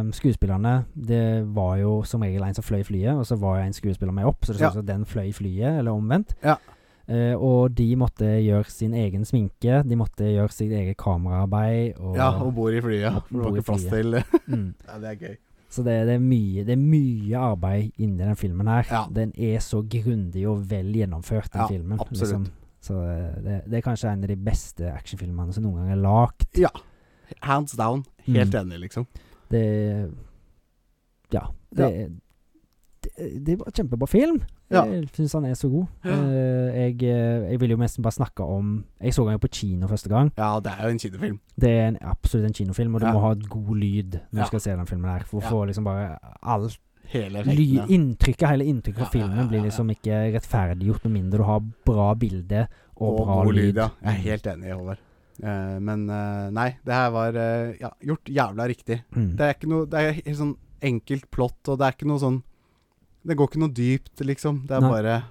S2: eh, skuespillerne Det var jo som regel en som fløy flyet, og så var en skuespiller med opp, så det så
S1: Ja.
S2: ut som den fløy flyet, eller omvendt.
S1: Ja.
S2: Eh, og de måtte gjøre sin egen sminke, de måtte gjøre sitt eget kameraarbeid. Og,
S1: Ja, og bor i flyet. For det
S2: Bor
S1: var
S2: i
S1: ikke plass
S2: flyet.
S1: til
S2: mm.
S1: Ja, det er gøy.
S2: Så det, det, er mye, det er mye arbeid inni den filmen her.
S1: Ja.
S2: Den er så grundig og vel gjennomført, den
S1: Ja,
S2: filmen.
S1: absolutt.
S2: Så eh, det, det er kanskje en av de beste actionfilmene som noen gang er lagd.
S1: Ja. Hands down. Helt
S2: Mm.
S1: enig, liksom.
S2: Det Ja. Det, det, det var en kjempebra film.
S1: Ja.
S2: Jeg syns han er så god.
S1: Ja.
S2: Eh, Jeg, eh, jeg vil jo nesten bare snakke om Jeg så han jo på kino første gang.
S1: Ja, det er jo en kinofilm.
S2: Det er en, absolutt en kinofilm, og du
S1: Ja.
S2: må ha et god lyd når
S1: Ja.
S2: du skal se den filmen her. For å
S1: Ja.
S2: få liksom bare alt
S1: Hele
S2: Ly,
S1: effekten. ja.
S2: inntrykket, hele inntrykket fra
S1: Ja, ja, ja,
S2: filmen
S1: ja,
S2: blir
S1: ja.
S2: liksom ikke rettferdiggjort med mindre du har bra bilde og, bra
S1: god
S2: lyd.
S1: ja. Jeg er helt enig, Håvard. Eh, men eh, nei, det her var eh, ja, gjort jævla riktig.
S2: Mm.
S1: Det er ikke noe Det er helt sånn enkelt plott, og det er ikke noe sånn Det går ikke noe dypt, liksom. Det er
S2: Nei.
S1: bare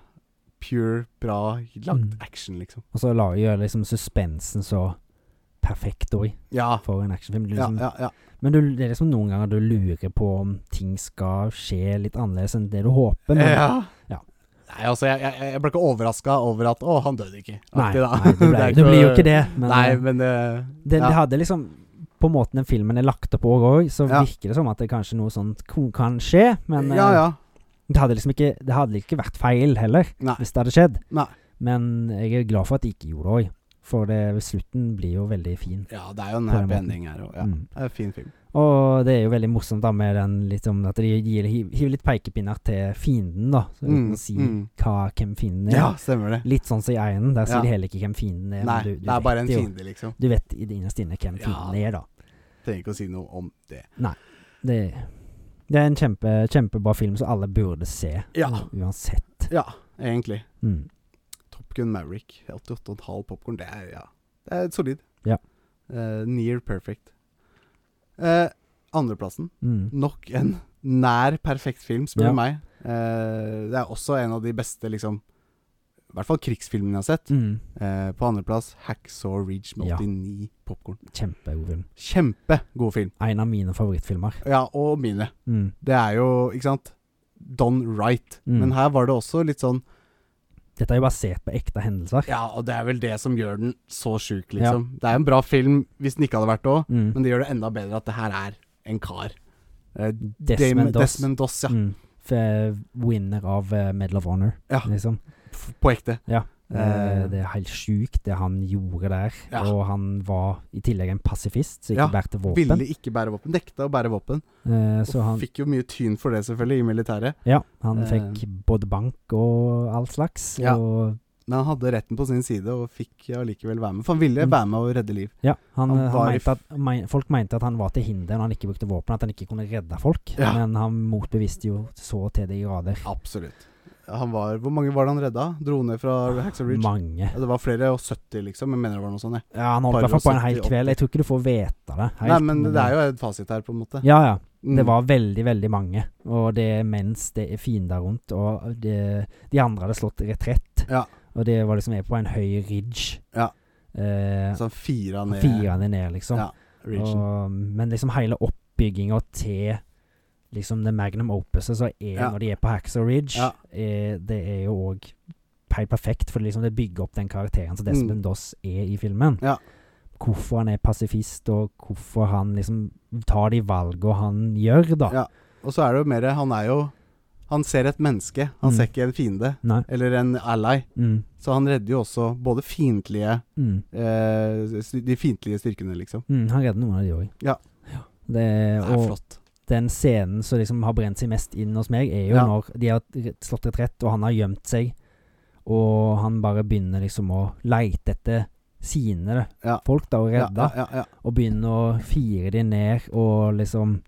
S1: pure, bra lagd
S2: Mm.
S1: action, liksom.
S2: Og så la- gjør liksom suspensen så perfekt òg,
S1: Ja.
S2: for en actionfilm. Du
S1: Ja,
S2: Liksom,
S1: ja, ja.
S2: Men du, det er liksom noen ganger du lurer på om ting skal skje litt annerledes enn det du håper. Men,
S1: ja.
S2: Ja.
S1: Nei, altså, jeg, jeg, jeg ble ikke overraska over at Å, han døde ikke. Aktig,
S2: Nei,
S1: da.
S2: nei det, ble,
S1: er
S2: det
S1: ikke
S2: blir jo
S1: noe-
S2: ikke det. Men
S1: Nei,
S2: eh,
S1: men det
S2: det,
S1: ja.
S2: det hadde liksom På måten den filmen er lagt opp på òg, så
S1: Ja.
S2: virker det som at det kanskje noe sånt ko- kan skje. Men eh,
S1: Ja, ja.
S2: det hadde liksom ikke, det hadde ikke vært feil heller,
S1: Nei.
S2: hvis det hadde skjedd.
S1: Nei.
S2: Men jeg er glad for at de ikke gjorde det òg, for det, slutten blir jo veldig fin.
S1: Ja, det er jo en
S2: På den
S1: happy
S2: måten.
S1: ending her òg. Ja.
S2: Mm.
S1: Det er en fin film.
S2: Og det er jo veldig morsomt da med den litt om at de gir, hiv- hiver litt pekepinner til fienden, da. Så uten
S1: Mm,
S2: å si
S1: mm.
S2: hva, hvem fienden er.
S1: Ja, stemmer det.
S2: Litt sånn som i Einen, der sier
S1: Ja.
S2: de heller ikke hvem fienden er. men
S1: Nei,
S2: du, du
S1: det er bare
S2: vet
S1: en
S2: jo-
S1: fiende, liksom.
S2: Du vet i det innerste inne hvem
S1: Ja.
S2: fienden er, da.
S1: Trenger ikke å si noe om det.
S2: Det, det er en kjempe, kjempebra film som alle burde se,
S1: Ja.
S2: uansett.
S1: Ja, egentlig.
S2: Mm.
S1: Top Gun Maverick, 88,5 popkorn, det er ja Det er solid.
S2: Ja.
S1: Eh, near perfect. Eh, andreplassen,
S2: Mm.
S1: nok en nær perfekt film, spør du
S2: Ja.
S1: meg. Eh, det er også en av de beste, liksom I hvert fall krigsfilmene jeg har sett.
S2: Mm.
S1: Eh, på andreplass Hacksaw Ridge med
S2: Ja.
S1: 89 popkorn.
S2: Kjempegod film.
S1: Kjempegod film.
S2: En av mine favorittfilmer.
S1: Ja, og mine.
S2: Mm.
S1: Det er jo, ikke sant Done right.
S2: Mm.
S1: Men her var det også litt sånn
S2: Dette er jo basert på ekte hendelser.
S1: Ja, og det er vel det som gjør den så sjuk, liksom. Det er en bra film hvis den ikke hadde vært det òg,
S2: Mm.
S1: men det gjør det enda bedre at det her er en kar. Eh, Damon-
S2: Desmond Doss.
S1: Desmond Doss, ja.
S2: Mm. F- Winner av eh, Medal of Honor,
S1: Ja.
S2: liksom.
S1: F- På ekte.
S2: Eh,
S1: Eh.
S2: det er helt sjukt, det han gjorde der.
S1: Ja.
S2: Og han var i tillegg en pasifist, så
S1: Ja,
S2: ikke bærte våpen.
S1: Ville ikke bære våpen. Nekta å bære våpen.
S2: Eh, så
S1: og
S2: han
S1: fikk jo mye tyn for det, selvfølgelig, i militæret.
S2: Ja, han
S1: Eh.
S2: fikk både bank og all slags.
S1: Ja.
S2: Og
S1: Men han hadde retten på sin side, og fikk allikevel være med. For han ville
S2: Mm.
S1: være med og redde liv.
S2: ja, han, eh,
S1: Han
S2: han,
S1: var i f-
S2: mente at, mein, folk mente at han var til hinder når han ikke brukte våpen, at han ikke kunne redde folk.
S1: Ja.
S2: Men han motbeviste jo så til de grader.
S1: Absolutt. Han var, hvor mange var det han redda? Dro ned fra Hacksaw Ridge?
S2: Mange.
S1: Ja, Det var flere og 70, liksom. Jeg mener det var noe sånt. jeg.
S2: Ja, han holdt i
S1: Bare
S2: hvert fall på en
S1: 70,
S2: hel kveld. Jeg tror ikke du får vite det. helt,
S1: Nei, men det er jo et fasit her, på en måte.
S2: Ja, ja.
S1: Mm.
S2: Det var veldig, veldig mange. Og det er mens det er fiender rundt, og det, de andre hadde slått retrett.
S1: Ja.
S2: Og det var liksom er på en høy ridge.
S1: Ja.
S2: Eh,
S1: Så han fira ned
S2: Firene ned, liksom.
S1: Ja, Ridgen.
S2: og, men liksom hele oppbygginga til liksom det magnum opuset som er
S1: Ja.
S2: når de er på Hacksaw Ridge,
S1: Ja.
S2: eh, det er jo òg helt perfekt, for liksom det bygger opp den karakteren som Desmond Doss er i filmen.
S1: Mm. Ja.
S2: Hvorfor han er pasifist, og hvorfor han liksom tar de valgene han gjør, da.
S1: Ja. Og så er det jo mer Han er jo Han ser et menneske. Han
S2: Mm.
S1: ser ikke en fiende
S2: Nei.
S1: eller en ally.
S2: Mm,
S1: Så han redder jo også både fiendtlige
S2: mm,
S1: eh, s- De fiendtlige styrkene, liksom.
S2: mm, han redder noen av de òg.
S1: Ja.
S2: Det,
S1: Det er
S2: og
S1: flott.
S2: den scenen som liksom har brent seg mest inn hos meg, er jo
S1: Ja.
S2: når de har re- slått retrett, og han har gjemt seg, og han bare begynner liksom å leite etter sine
S1: Ja.
S2: folk, da, og
S1: Ja,
S2: redde,
S1: Ja, ja, ja.
S2: og begynner å fire de ned, og liksom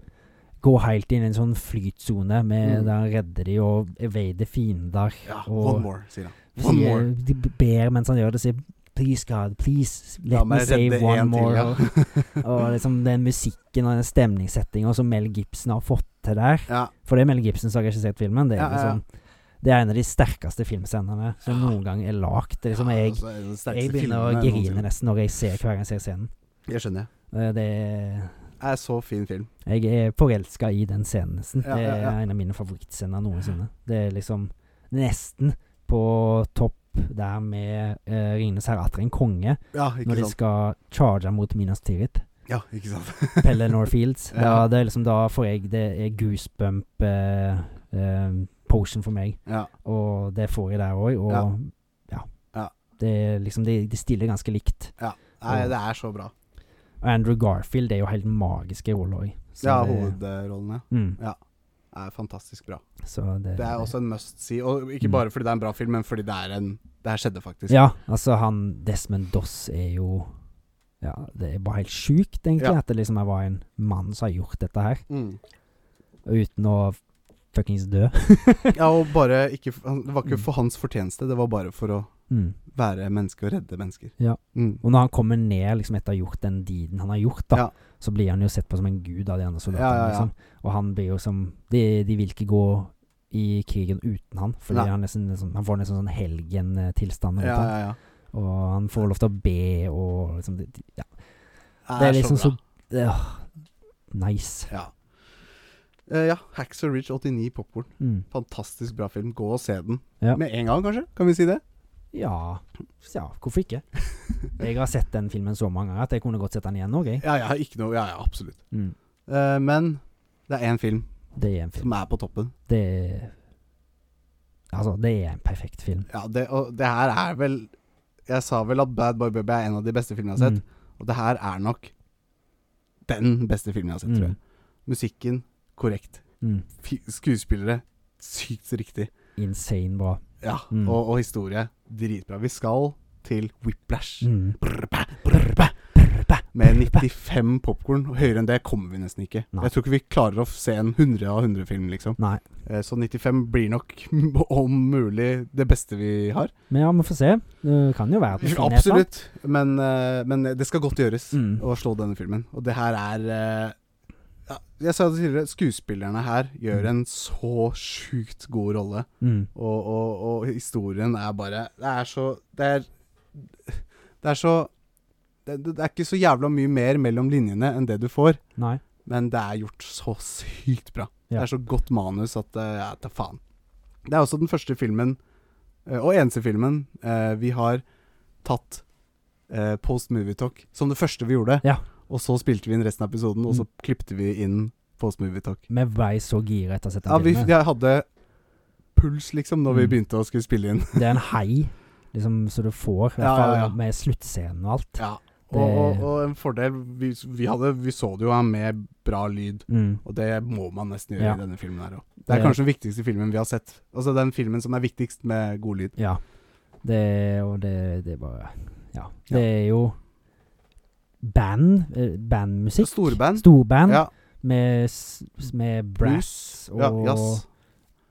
S2: gå helt inn i en sånn flytsone med
S1: Mm.
S2: der han redder de og evader fiender.
S1: ja.
S2: Og-
S1: One more, sier han. One
S2: Sier,
S1: more.
S2: de ber mens han gjør det, sier Please God, please let
S1: La
S2: me
S1: meg
S2: save
S1: redde
S2: one
S1: en
S2: more.
S1: til, ja.
S2: og, og liksom den musikken og den stemningssettinga som Mel Gibson har fått til der.
S1: Ja.
S2: For det er Mel Gibson som har regissert filmen. Det er,
S1: Ja, ja, ja.
S2: liksom, det er en av de sterkeste filmscenene som noen gang er lagd. Det er Liksom, jeg,
S1: altså, det er den sterkeste
S2: jeg begynner å
S1: filmen jeg
S2: grine
S1: noensinne-
S2: nesten når jeg ser hver gang jeg ser scenen.
S1: Jeg skjønner.
S2: Eh, Det er-
S1: Det er så fin film.
S2: jeg er forelska i den scenen, nesten.
S1: Ja,
S2: Det
S1: ja, ja.
S2: er en av mine favorittscener noensinne. Det er liksom nesten på topp der med uh, 'Ringenes herre' atter en konge,
S1: Ja,
S2: når
S1: ikke
S2: de
S1: sant.
S2: skal charge mot Minas Tirith.
S1: Ja, ikke sant.
S2: Pelle Norfields.
S1: Ja.
S2: ja. det er liksom da får jeg Det er goosebump eh, eh, potion for meg.
S1: Ja.
S2: Og det får jeg der òg, og
S1: Ja.
S2: ja.
S1: Ja.
S2: Det, er liksom, de, de stiller ganske likt.
S1: Nei, det er så bra.
S2: Og Andrew Garfield er jo helt magisk i rolla òg.
S1: Ja, hovedrollene.
S2: Mm,
S1: Er fantastisk bra.
S2: så det,
S1: Det er også en must see, og ikke
S2: Mm.
S1: bare fordi det er en bra film, men fordi det er en Det her skjedde faktisk.
S2: Ja, altså han Desmond Doss er jo Ja, det er bare helt sjukt, egentlig,
S1: Ja.
S2: at det liksom var en mann som har gjort dette her,
S1: Mm.
S2: uten å fuckings dø.
S1: ja og bare ikke f- han- Det var ikke
S2: Mm.
S1: for hans fortjeneste, det var bare for å
S2: Mm.
S1: være menneske og redde mennesker.
S2: Ja.
S1: Mm.
S2: Og når han kommer ned liksom etter å ha gjort den deeden han har gjort, da,
S1: Ja.
S2: så blir han jo sett på som en gud av de andre soldatene.
S1: Ja, ja, ja.
S2: Liksom. Og han blir jo som de, de vil ikke gå i krigen uten han, fordi
S1: Nei.
S2: han, nesten, liksom, han får nesten sånn helgentilstand.
S1: Ja, ja, ja.
S2: Og han får lov til å be og liksom de- de- ja.
S1: Det
S2: Det er liksom
S1: så
S2: så
S1: bra.
S2: Åh, Nice.
S1: Ja. Eh, ja. Hacks og Ridge 89 Popkorn.
S2: Mm.
S1: Fantastisk bra film. Gå og se den.
S2: Ja.
S1: Med en gang, kanskje? Kan vi si det?
S2: Ja, ja, hvorfor ikke? Jeg har sett den filmen så mange ganger at jeg kunne godt sett den igjen òg, jeg.
S1: Ja, ja, ikke noe Ja, ja, absolutt.
S2: Mm.
S1: Eh, men det er én film
S2: Det er en film.
S1: som er på toppen.
S2: Det er Altså, det er en perfekt film.
S1: Ja, det, og det her er vel Jeg sa vel at Bad Boy Baby er en av de beste filmene jeg har sett. Og det her er nok den beste filmen jeg har sett, tror jeg. Musikken korrekt.
S2: Mm. Mm.
S1: Fi- Skuespillere sykt riktig.
S2: Insane bra.
S1: Ja,
S2: Mm.
S1: og, og historie dritbra. Vi skal til Whiplash.
S2: Mm.
S1: Brrba, brrba, brrba, Med 95 popkorn. Høyere enn det kommer vi nesten ikke.
S2: Nei.
S1: Jeg tror ikke vi klarer å se en 100 av 100-film, liksom.
S2: Nei.
S1: Eh, Så 95 blir nok om mulig det beste vi har.
S2: Men ja, vi får se. Det kan jo være at vi finner et eller annet.
S1: Absolutt. Men, eh, men det skal godt gjøres
S2: Mm.
S1: å slå denne filmen. Og det her er eh, ja, Jeg sa det tidligere, skuespillerne her gjør en så sjukt god rolle.
S2: Mm.
S1: Og, og, og historien er bare Det er så Det er, det er så det, det er ikke så jævla mye mer mellom linjene enn det du får,
S2: Nei.
S1: men det er gjort så sykt bra. Det
S2: Ja.
S1: er så godt manus at eh, Ja, ta faen. Det er også den første filmen, eh, og eneste filmen, eh, vi har tatt eh, post movie talk som det første vi gjorde.
S2: Ja. Mm.
S1: Og så spilte vi inn resten av episoden, og så klippte vi inn post movie talk.
S2: Vi ble så gira etter å ha sett den
S1: Ja, vi,
S2: filmen.
S1: jeg hadde puls, liksom, når vi
S2: Mm.
S1: begynte å skulle spille inn.
S2: Det er en hei liksom, som du får,
S1: Ja,
S2: i hvert fall
S1: ja, ja.
S2: med sluttscenen og alt.
S1: Ja.
S2: Det-
S1: Og, og, og en fordel vi, vi, hadde, vi så det jo her med bra lyd,
S2: Mm.
S1: og det må man nesten gjøre
S2: Ja.
S1: i denne filmen her òg. Det er
S2: Det-
S1: kanskje den viktigste filmen vi har sett. Altså den filmen som er viktigst med god lyd.
S2: Ja. Det Og det, det er bare Ja. Det er jo band. eh, Bandmusikk.
S1: Storband.
S2: Storband
S1: Ja,
S2: med, s- s- med brass og
S1: ja, jazz.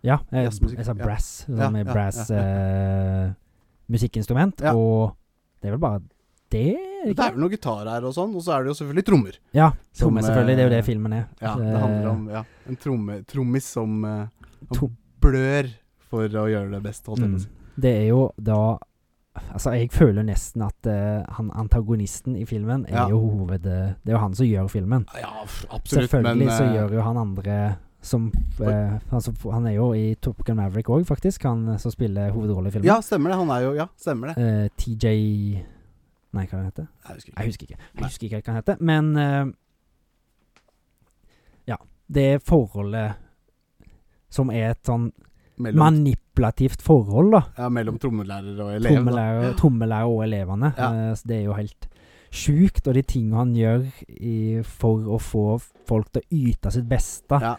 S2: Ja, eh,
S1: Jazzmusikk,
S2: jeg sa
S1: ja.
S2: brass. sånn
S1: Ja,
S2: med
S1: ja,
S2: brass
S1: ja, ja.
S2: eh, musikkinstrument.
S1: Ja.
S2: Og det er vel bare det? er det
S1: Det
S2: ikke?
S1: er vel noe gitar her og sånn, og så er det jo selvfølgelig trommer.
S2: Ja,
S1: som,
S2: trommer, selvfølgelig. Det er jo det
S1: eh,
S2: filmen er.
S1: Ja,
S2: Eh,
S1: det handler om ja, en tromme, trommis som eh, om-
S2: to-
S1: blør for å gjøre det best, holdt jeg på å si.
S2: mm. Det er jo da Altså, jeg føler nesten at eh, han antagonisten i filmen er
S1: Ja.
S2: jo hoved... eh, Det er jo han som gjør filmen.
S1: Mm. Ja, f- absolutt,
S2: Selvfølgelig
S1: men
S2: så
S1: eh,
S2: gjør jo han andre som eh, han, som, han er jo i Top Gun Maverick òg, faktisk. Han eh, som spiller hovedrollen i filmen.
S1: Ja, stemmer det. Han er jo Ja, stemmer det.
S2: Eh, TJ Nei, hva heter
S1: Jeg
S2: han?
S1: husker ikke.
S2: Jeg husker ikke. Jeg
S1: Nei.
S2: husker ikke hva han heter. Men eh, Ja. Det forholdet som er et sånn
S1: Mellom,
S2: manipulativt forhold, da.
S1: ja, mellom trommelærer og elev. da.
S2: Trommelærer, trommelærer og elevene.
S1: Ja.
S2: Eh, så det er jo helt sjukt. Og de tingene han gjør i, for å få folk til å yte sitt beste,
S1: Ja.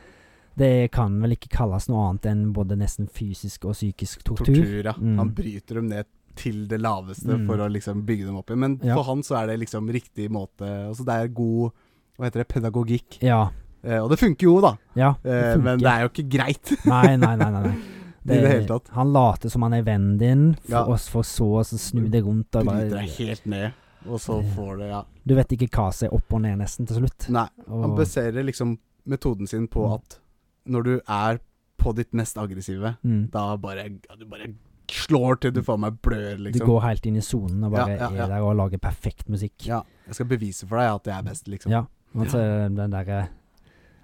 S2: det kan vel ikke kalles noe annet enn både nesten fysisk og psykisk tortur.
S1: Tortur, ja.
S2: Mm.
S1: Han bryter dem ned til det laveste
S2: Mm.
S1: for å liksom bygge dem opp igjen. Men
S2: Ja.
S1: for han så er det liksom riktig måte Altså det er god hva heter det, pedagogikk.
S2: Ja.
S1: Eh, og det funker jo, da.
S2: ja
S1: Eh, men det er jo ikke greit.
S2: Nei, nei, nei. nei, nei.
S1: I det hele tatt.
S2: Han later som han er vennen din, for
S1: Ja.
S2: oss for så å snu det rundt. Og
S1: Bryter deg
S2: bare,
S1: helt ned, og så
S2: Det-
S1: får det Ja.
S2: du vet ikke hva som er opp og ned, nesten, til slutt.
S1: Nei. Han
S2: Og,
S1: baserer liksom metoden sin på
S2: Mm.
S1: at når du er på ditt mest aggressive,
S2: mm,
S1: da bare ja, Du bare slår til du faen meg blør,
S2: du
S1: liksom.
S2: går helt inn i sonen og bare
S1: Ja, ja, ja.
S2: er der og lager perfekt musikk.
S1: Ja. Jeg skal bevise for deg at jeg er best, liksom.
S2: Ja. Og så er den der, eh,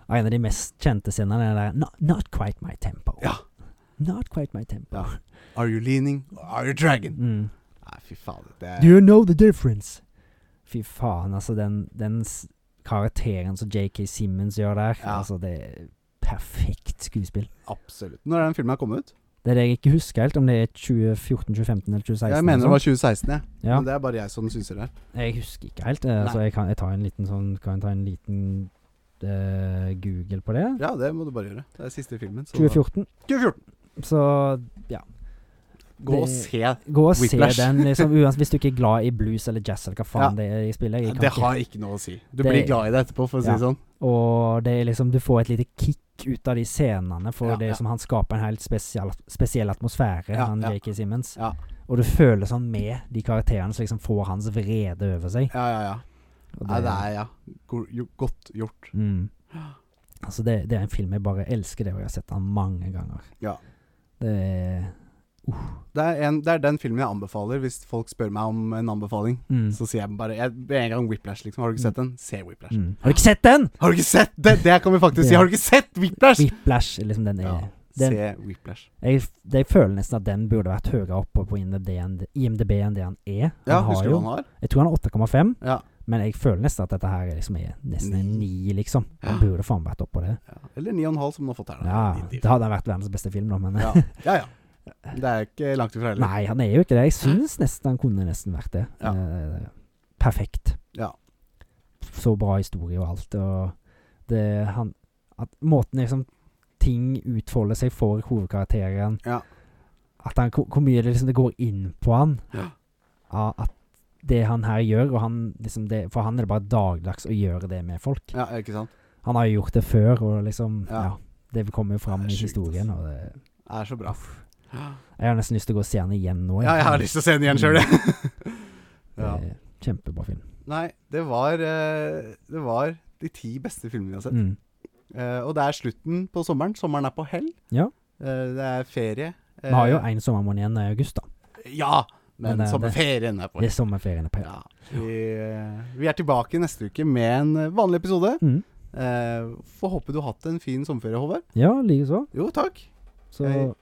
S2: En av de mest kjente scenene er der not, not quite my tempo.
S1: Ja.
S2: Not quite my tempo.
S1: Ja. Are you leaning? Are you dragging?
S2: Mm.
S1: Nei, fy faen. Det er
S2: Do you know the difference? Fy faen, altså. Den, den s- karakteren som JK Simmons gjør der,
S1: Ja.
S2: altså det er perfekt skuespill.
S1: Absolutt. Når er den filmen her kommet ut?
S2: Det er det jeg ikke husker helt, om det er 2014, 2015 eller 2016.
S1: Jeg mener det
S2: eller
S1: var 2016, jeg.
S2: sånn. ja.
S1: Men det er bare jeg som synser det. her.
S2: Jeg husker ikke helt, eh, så
S1: Nei.
S2: jeg kan jeg tar en liten sånn Kan jeg ta en liten eh, Google på det?
S1: Ja, det må du bare gjøre. Det er siste filmen. så-
S2: 2014.
S1: 2014.
S2: Så
S1: Gå og
S2: Det-
S1: se. Ja,
S2: gå og se
S1: Whiplash.
S2: den, liksom, uansett hvis du ikke er glad i blues eller jazz eller hva faen det er i spillet. Jeg kan
S1: Det
S2: ikke-
S1: har ikke noe å si. Du
S2: Det-
S1: blir glad i det etterpå, for å si
S2: Ja.
S1: det sånn.
S2: Og det er liksom, du får et lite kick ut av de scenene, for
S1: Ja,
S2: det er
S1: ja.
S2: liksom, han skaper en helt spesiell, spesiell atmosfære,
S1: Ja,
S2: han
S1: ja.
S2: J.K. Simmons.
S1: Ja.
S2: Og du føler sånn med de karakterene som liksom får hans vrede over seg.
S1: Ja, ja, ja.
S2: Og
S1: Nei, det er ja. Go- jo- Godt gjort.
S2: mm. Altså, det, det er en film jeg bare elsker, det, og jeg har sett den mange ganger.
S1: Ja.
S2: Det er
S1: Det er, en, det er den filmen jeg anbefaler hvis folk spør meg om en anbefaling.
S2: mm.
S1: Så sier jeg bare jeg, med en gang Whiplash, liksom. Har du ikke sett den? Se Whiplash.
S2: Mm. Har du ikke sett den?!
S1: Har du ikke sett det? Det kan vi faktisk si.
S2: Ja.
S1: Har du ikke sett Whiplash?
S2: Whiplash, liksom, den er
S1: Ja.
S2: Den-
S1: Se Whiplash.
S2: jeg, f- jeg føler nesten at den burde vært høyere oppe på IMDb enn IMDb enn det han er. Han
S1: Ja,
S2: har
S1: husker du
S2: jo
S1: hva han har?
S2: Jeg tror han er 8,5,
S1: Ja.
S2: men jeg føler nesten at dette her er liksom er nesten en
S1: Ni.
S2: ni, liksom. Han
S1: Ja.
S2: burde faen vært oppå det.
S1: ja. Eller 9,5, som han har fått her. da.
S2: Ja,
S1: Litt i-
S2: det hadde vært verdens beste film, da, men
S1: ja. ja, ja. Det er ikke langt ifra heller.
S2: Nei, han er jo ikke det. Jeg syns nesten han kunne nesten vært det.
S1: Ja.
S2: Eh, perfekt.
S1: Ja.
S2: Så bra historie og alt, og det han at Måten liksom ting utfolder seg for hovedkarakteren
S1: Ja.
S2: At han, hvor hvor mye det liksom det går inn på han
S1: Ja.
S2: av At det han her gjør og han, liksom det, For han er det bare dagligdags å gjøre det med folk.
S1: Ja, ikke sant?
S2: Han har jo gjort det før, og liksom
S1: Ja. altså.
S2: Ja. det kommer jo fram
S1: Det er
S2: i
S1: sjukt,
S2: historien. Og det,
S1: Det er så bra.
S2: jeg har nesten lyst til å Eh. gå og se han igjen nå.
S1: Ja, jeg har lyst til å se den igjen sjøl, jeg.
S2: Det
S1: ja.
S2: er Kjempebra film.
S1: Nei, det var eh, Det var de ti beste filmene jeg har sett.
S2: Mm.
S1: Eh, og det er slutten på sommeren. Sommeren er på hell.
S2: Ja.
S1: Eh, det er ferie. Eh,
S2: Vi har jo én sommermåned igjen i august, da.
S1: Ja! Men,
S2: Men eh, det-
S1: sommerferien er på
S2: Det
S1: hell.
S2: er sommerferien. på
S1: Ja. Vi, eh, vi er tilbake neste uke med en eh, vanlig episode.
S2: Mm.
S1: Eh, får håpe du har hatt en fin sommerferie, Håvard.
S2: Ja, likeså.
S1: Jo, takk.
S2: Så
S1: Hei.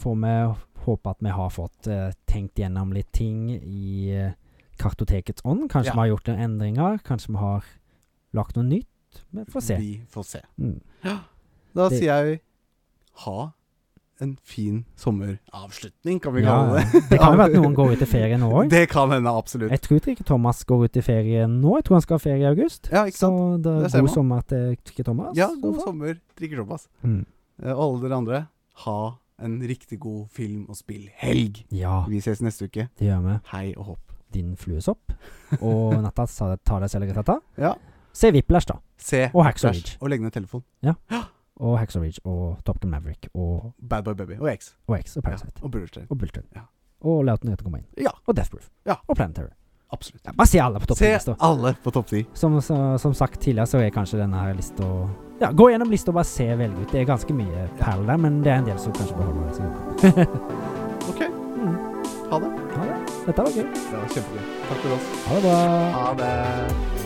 S2: får vi håpe at vi har fått eh, tenkt gjennom litt ting i eh, kartotekets ånd. Kanskje
S1: Ja.
S2: vi har gjort noen endringer. Kanskje vi har lagt noe nytt. Vi får se.
S1: Vi får se.
S2: Mm.
S1: Da
S2: Det-
S1: sier jeg ha en fin sommeravslutning, kan vi
S2: Ja,
S1: kalle det.
S2: det kan jo være at noen går ut i ferie nå òg.
S1: Det kan hende, absolutt.
S2: Jeg tror ikke Thomas går ut i ferie nå. Jeg tror han skal ha ferie i august.
S1: Ja, ikke sant?
S2: Så det er
S1: Det ser
S2: god
S1: man.
S2: sommer til Trikke Thomas.
S1: Ja,
S2: i
S1: god
S2: hvert fall.
S1: sommer. Drikker såpass.
S2: Mm.
S1: Eh, Og alle dere andre, ha en riktig god film- og spillhelg.
S2: Ja,
S1: Vi ses neste uke.
S2: det gjør vi.
S1: Hei og hopp.
S2: Din fluesopp. Og natta sa det, ta deg selv i dette.
S1: Ja.
S2: Se Whiplash, da.
S1: Se
S2: Og Hacksaw
S1: Flash,
S2: Ridge.
S1: og legg ned telefonen.
S2: Og Hacksaw Ridge og Top Gun Maverick og,
S1: Bad Boy Baby og X.
S2: og X og
S1: Ja.
S2: Parasite.
S1: Og Bullerstein.
S2: Og Bulletin.
S1: Ja.
S2: Og Lauten Røthe kommer inn.
S1: Ja.
S2: Og Death Proof.
S1: Ja.
S2: Og Planet Terror.
S1: Absolutt.
S2: Ja, bare se alle på topp
S1: Se
S2: lista.
S1: alle på topp ti.
S2: Som, så- som sagt tidligere, så er kanskje denne her lista Ja, gå gjennom lista og bare se velge ut. Det er ganske mye perler der, men det er en del som kanskje beholder seg.
S1: OK.
S2: Mm.
S1: Ha det.
S2: Ha det. Dette var gøy.
S1: Det var kjempegøy. Takk for oss.
S2: Ha det bra.
S1: Ha det.